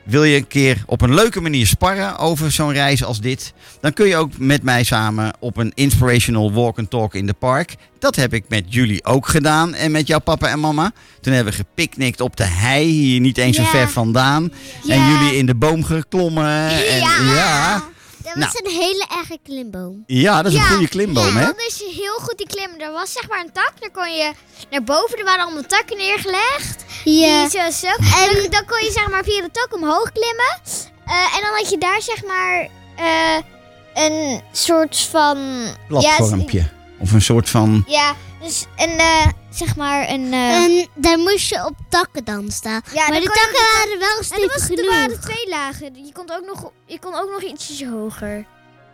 S3: Wil je een keer op een leuke manier sparren over zo'n reis als dit? Dan kun je ook met mij samen op een inspirational walk and talk in de park. Dat heb ik met jullie ook gedaan en met jouw papa en mama. Toen hebben we gepicnicked op de hei, hier niet eens zo
S6: Ja.
S3: ver vandaan. En
S6: Ja.
S3: jullie in de boom geklommen. En, ja.
S4: Dat
S3: Nou.
S4: was een hele erge klimboom.
S3: Ja, dat is een
S6: Ja,
S3: goede klimboom,
S6: ja,
S3: hè?
S6: dan is je heel goed in klimmen. Er was zeg maar een tak, daar kon je naar boven. Er waren allemaal takken neergelegd.
S4: Ja.
S6: Die zo, zo. En dan, dan kon je zeg maar via de tak omhoog klimmen. Eh, en dan had je daar zeg maar eh, een soort van...
S3: Platformpje. Of een soort van...
S6: Ja, dus een, eh, zeg maar een... eh,
S4: En Ehm, daar moest je op takken dan staan.
S6: ja,
S4: maar
S6: dan
S4: de
S6: kon je-
S4: takken waren wel
S6: en er,
S4: stevig
S6: was, er
S4: genoeg.
S6: waren twee lagen. Je kon ook nog, je kon ook nog ietsjes hoger.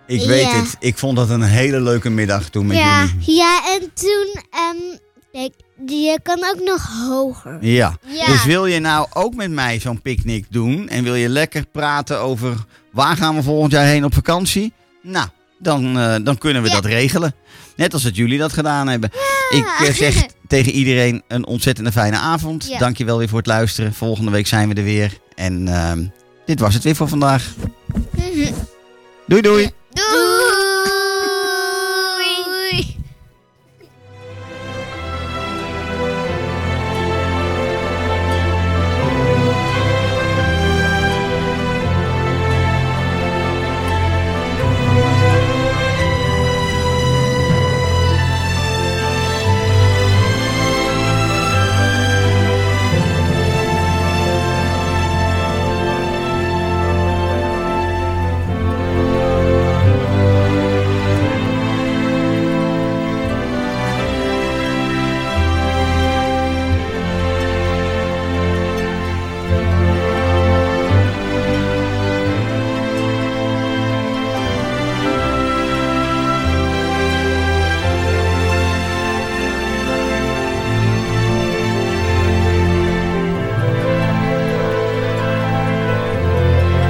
S3: Ik weet
S4: Ja.
S3: het. Ik vond dat een hele leuke middag toen met
S6: Ja.
S3: jullie.
S4: Ja, en toen... ehm kijk, je kan ook nog hoger.
S3: Ja.
S6: Ja.
S3: Dus wil je nou ook met mij zo'n picknick doen en wil je lekker praten over waar gaan we volgend jaar heen op vakantie? Nou, dan, eh, dan kunnen we dat regelen. Net als dat jullie dat gedaan hebben. Ik eh, zeg tegen iedereen een ontzettende fijne avond.
S6: Ja.
S3: Dank je wel weer voor het luisteren. Volgende week zijn we er weer.
S6: Mhm.
S3: En ehm, dit was het weer voor vandaag. Doei doei.
S6: Doei! Oh.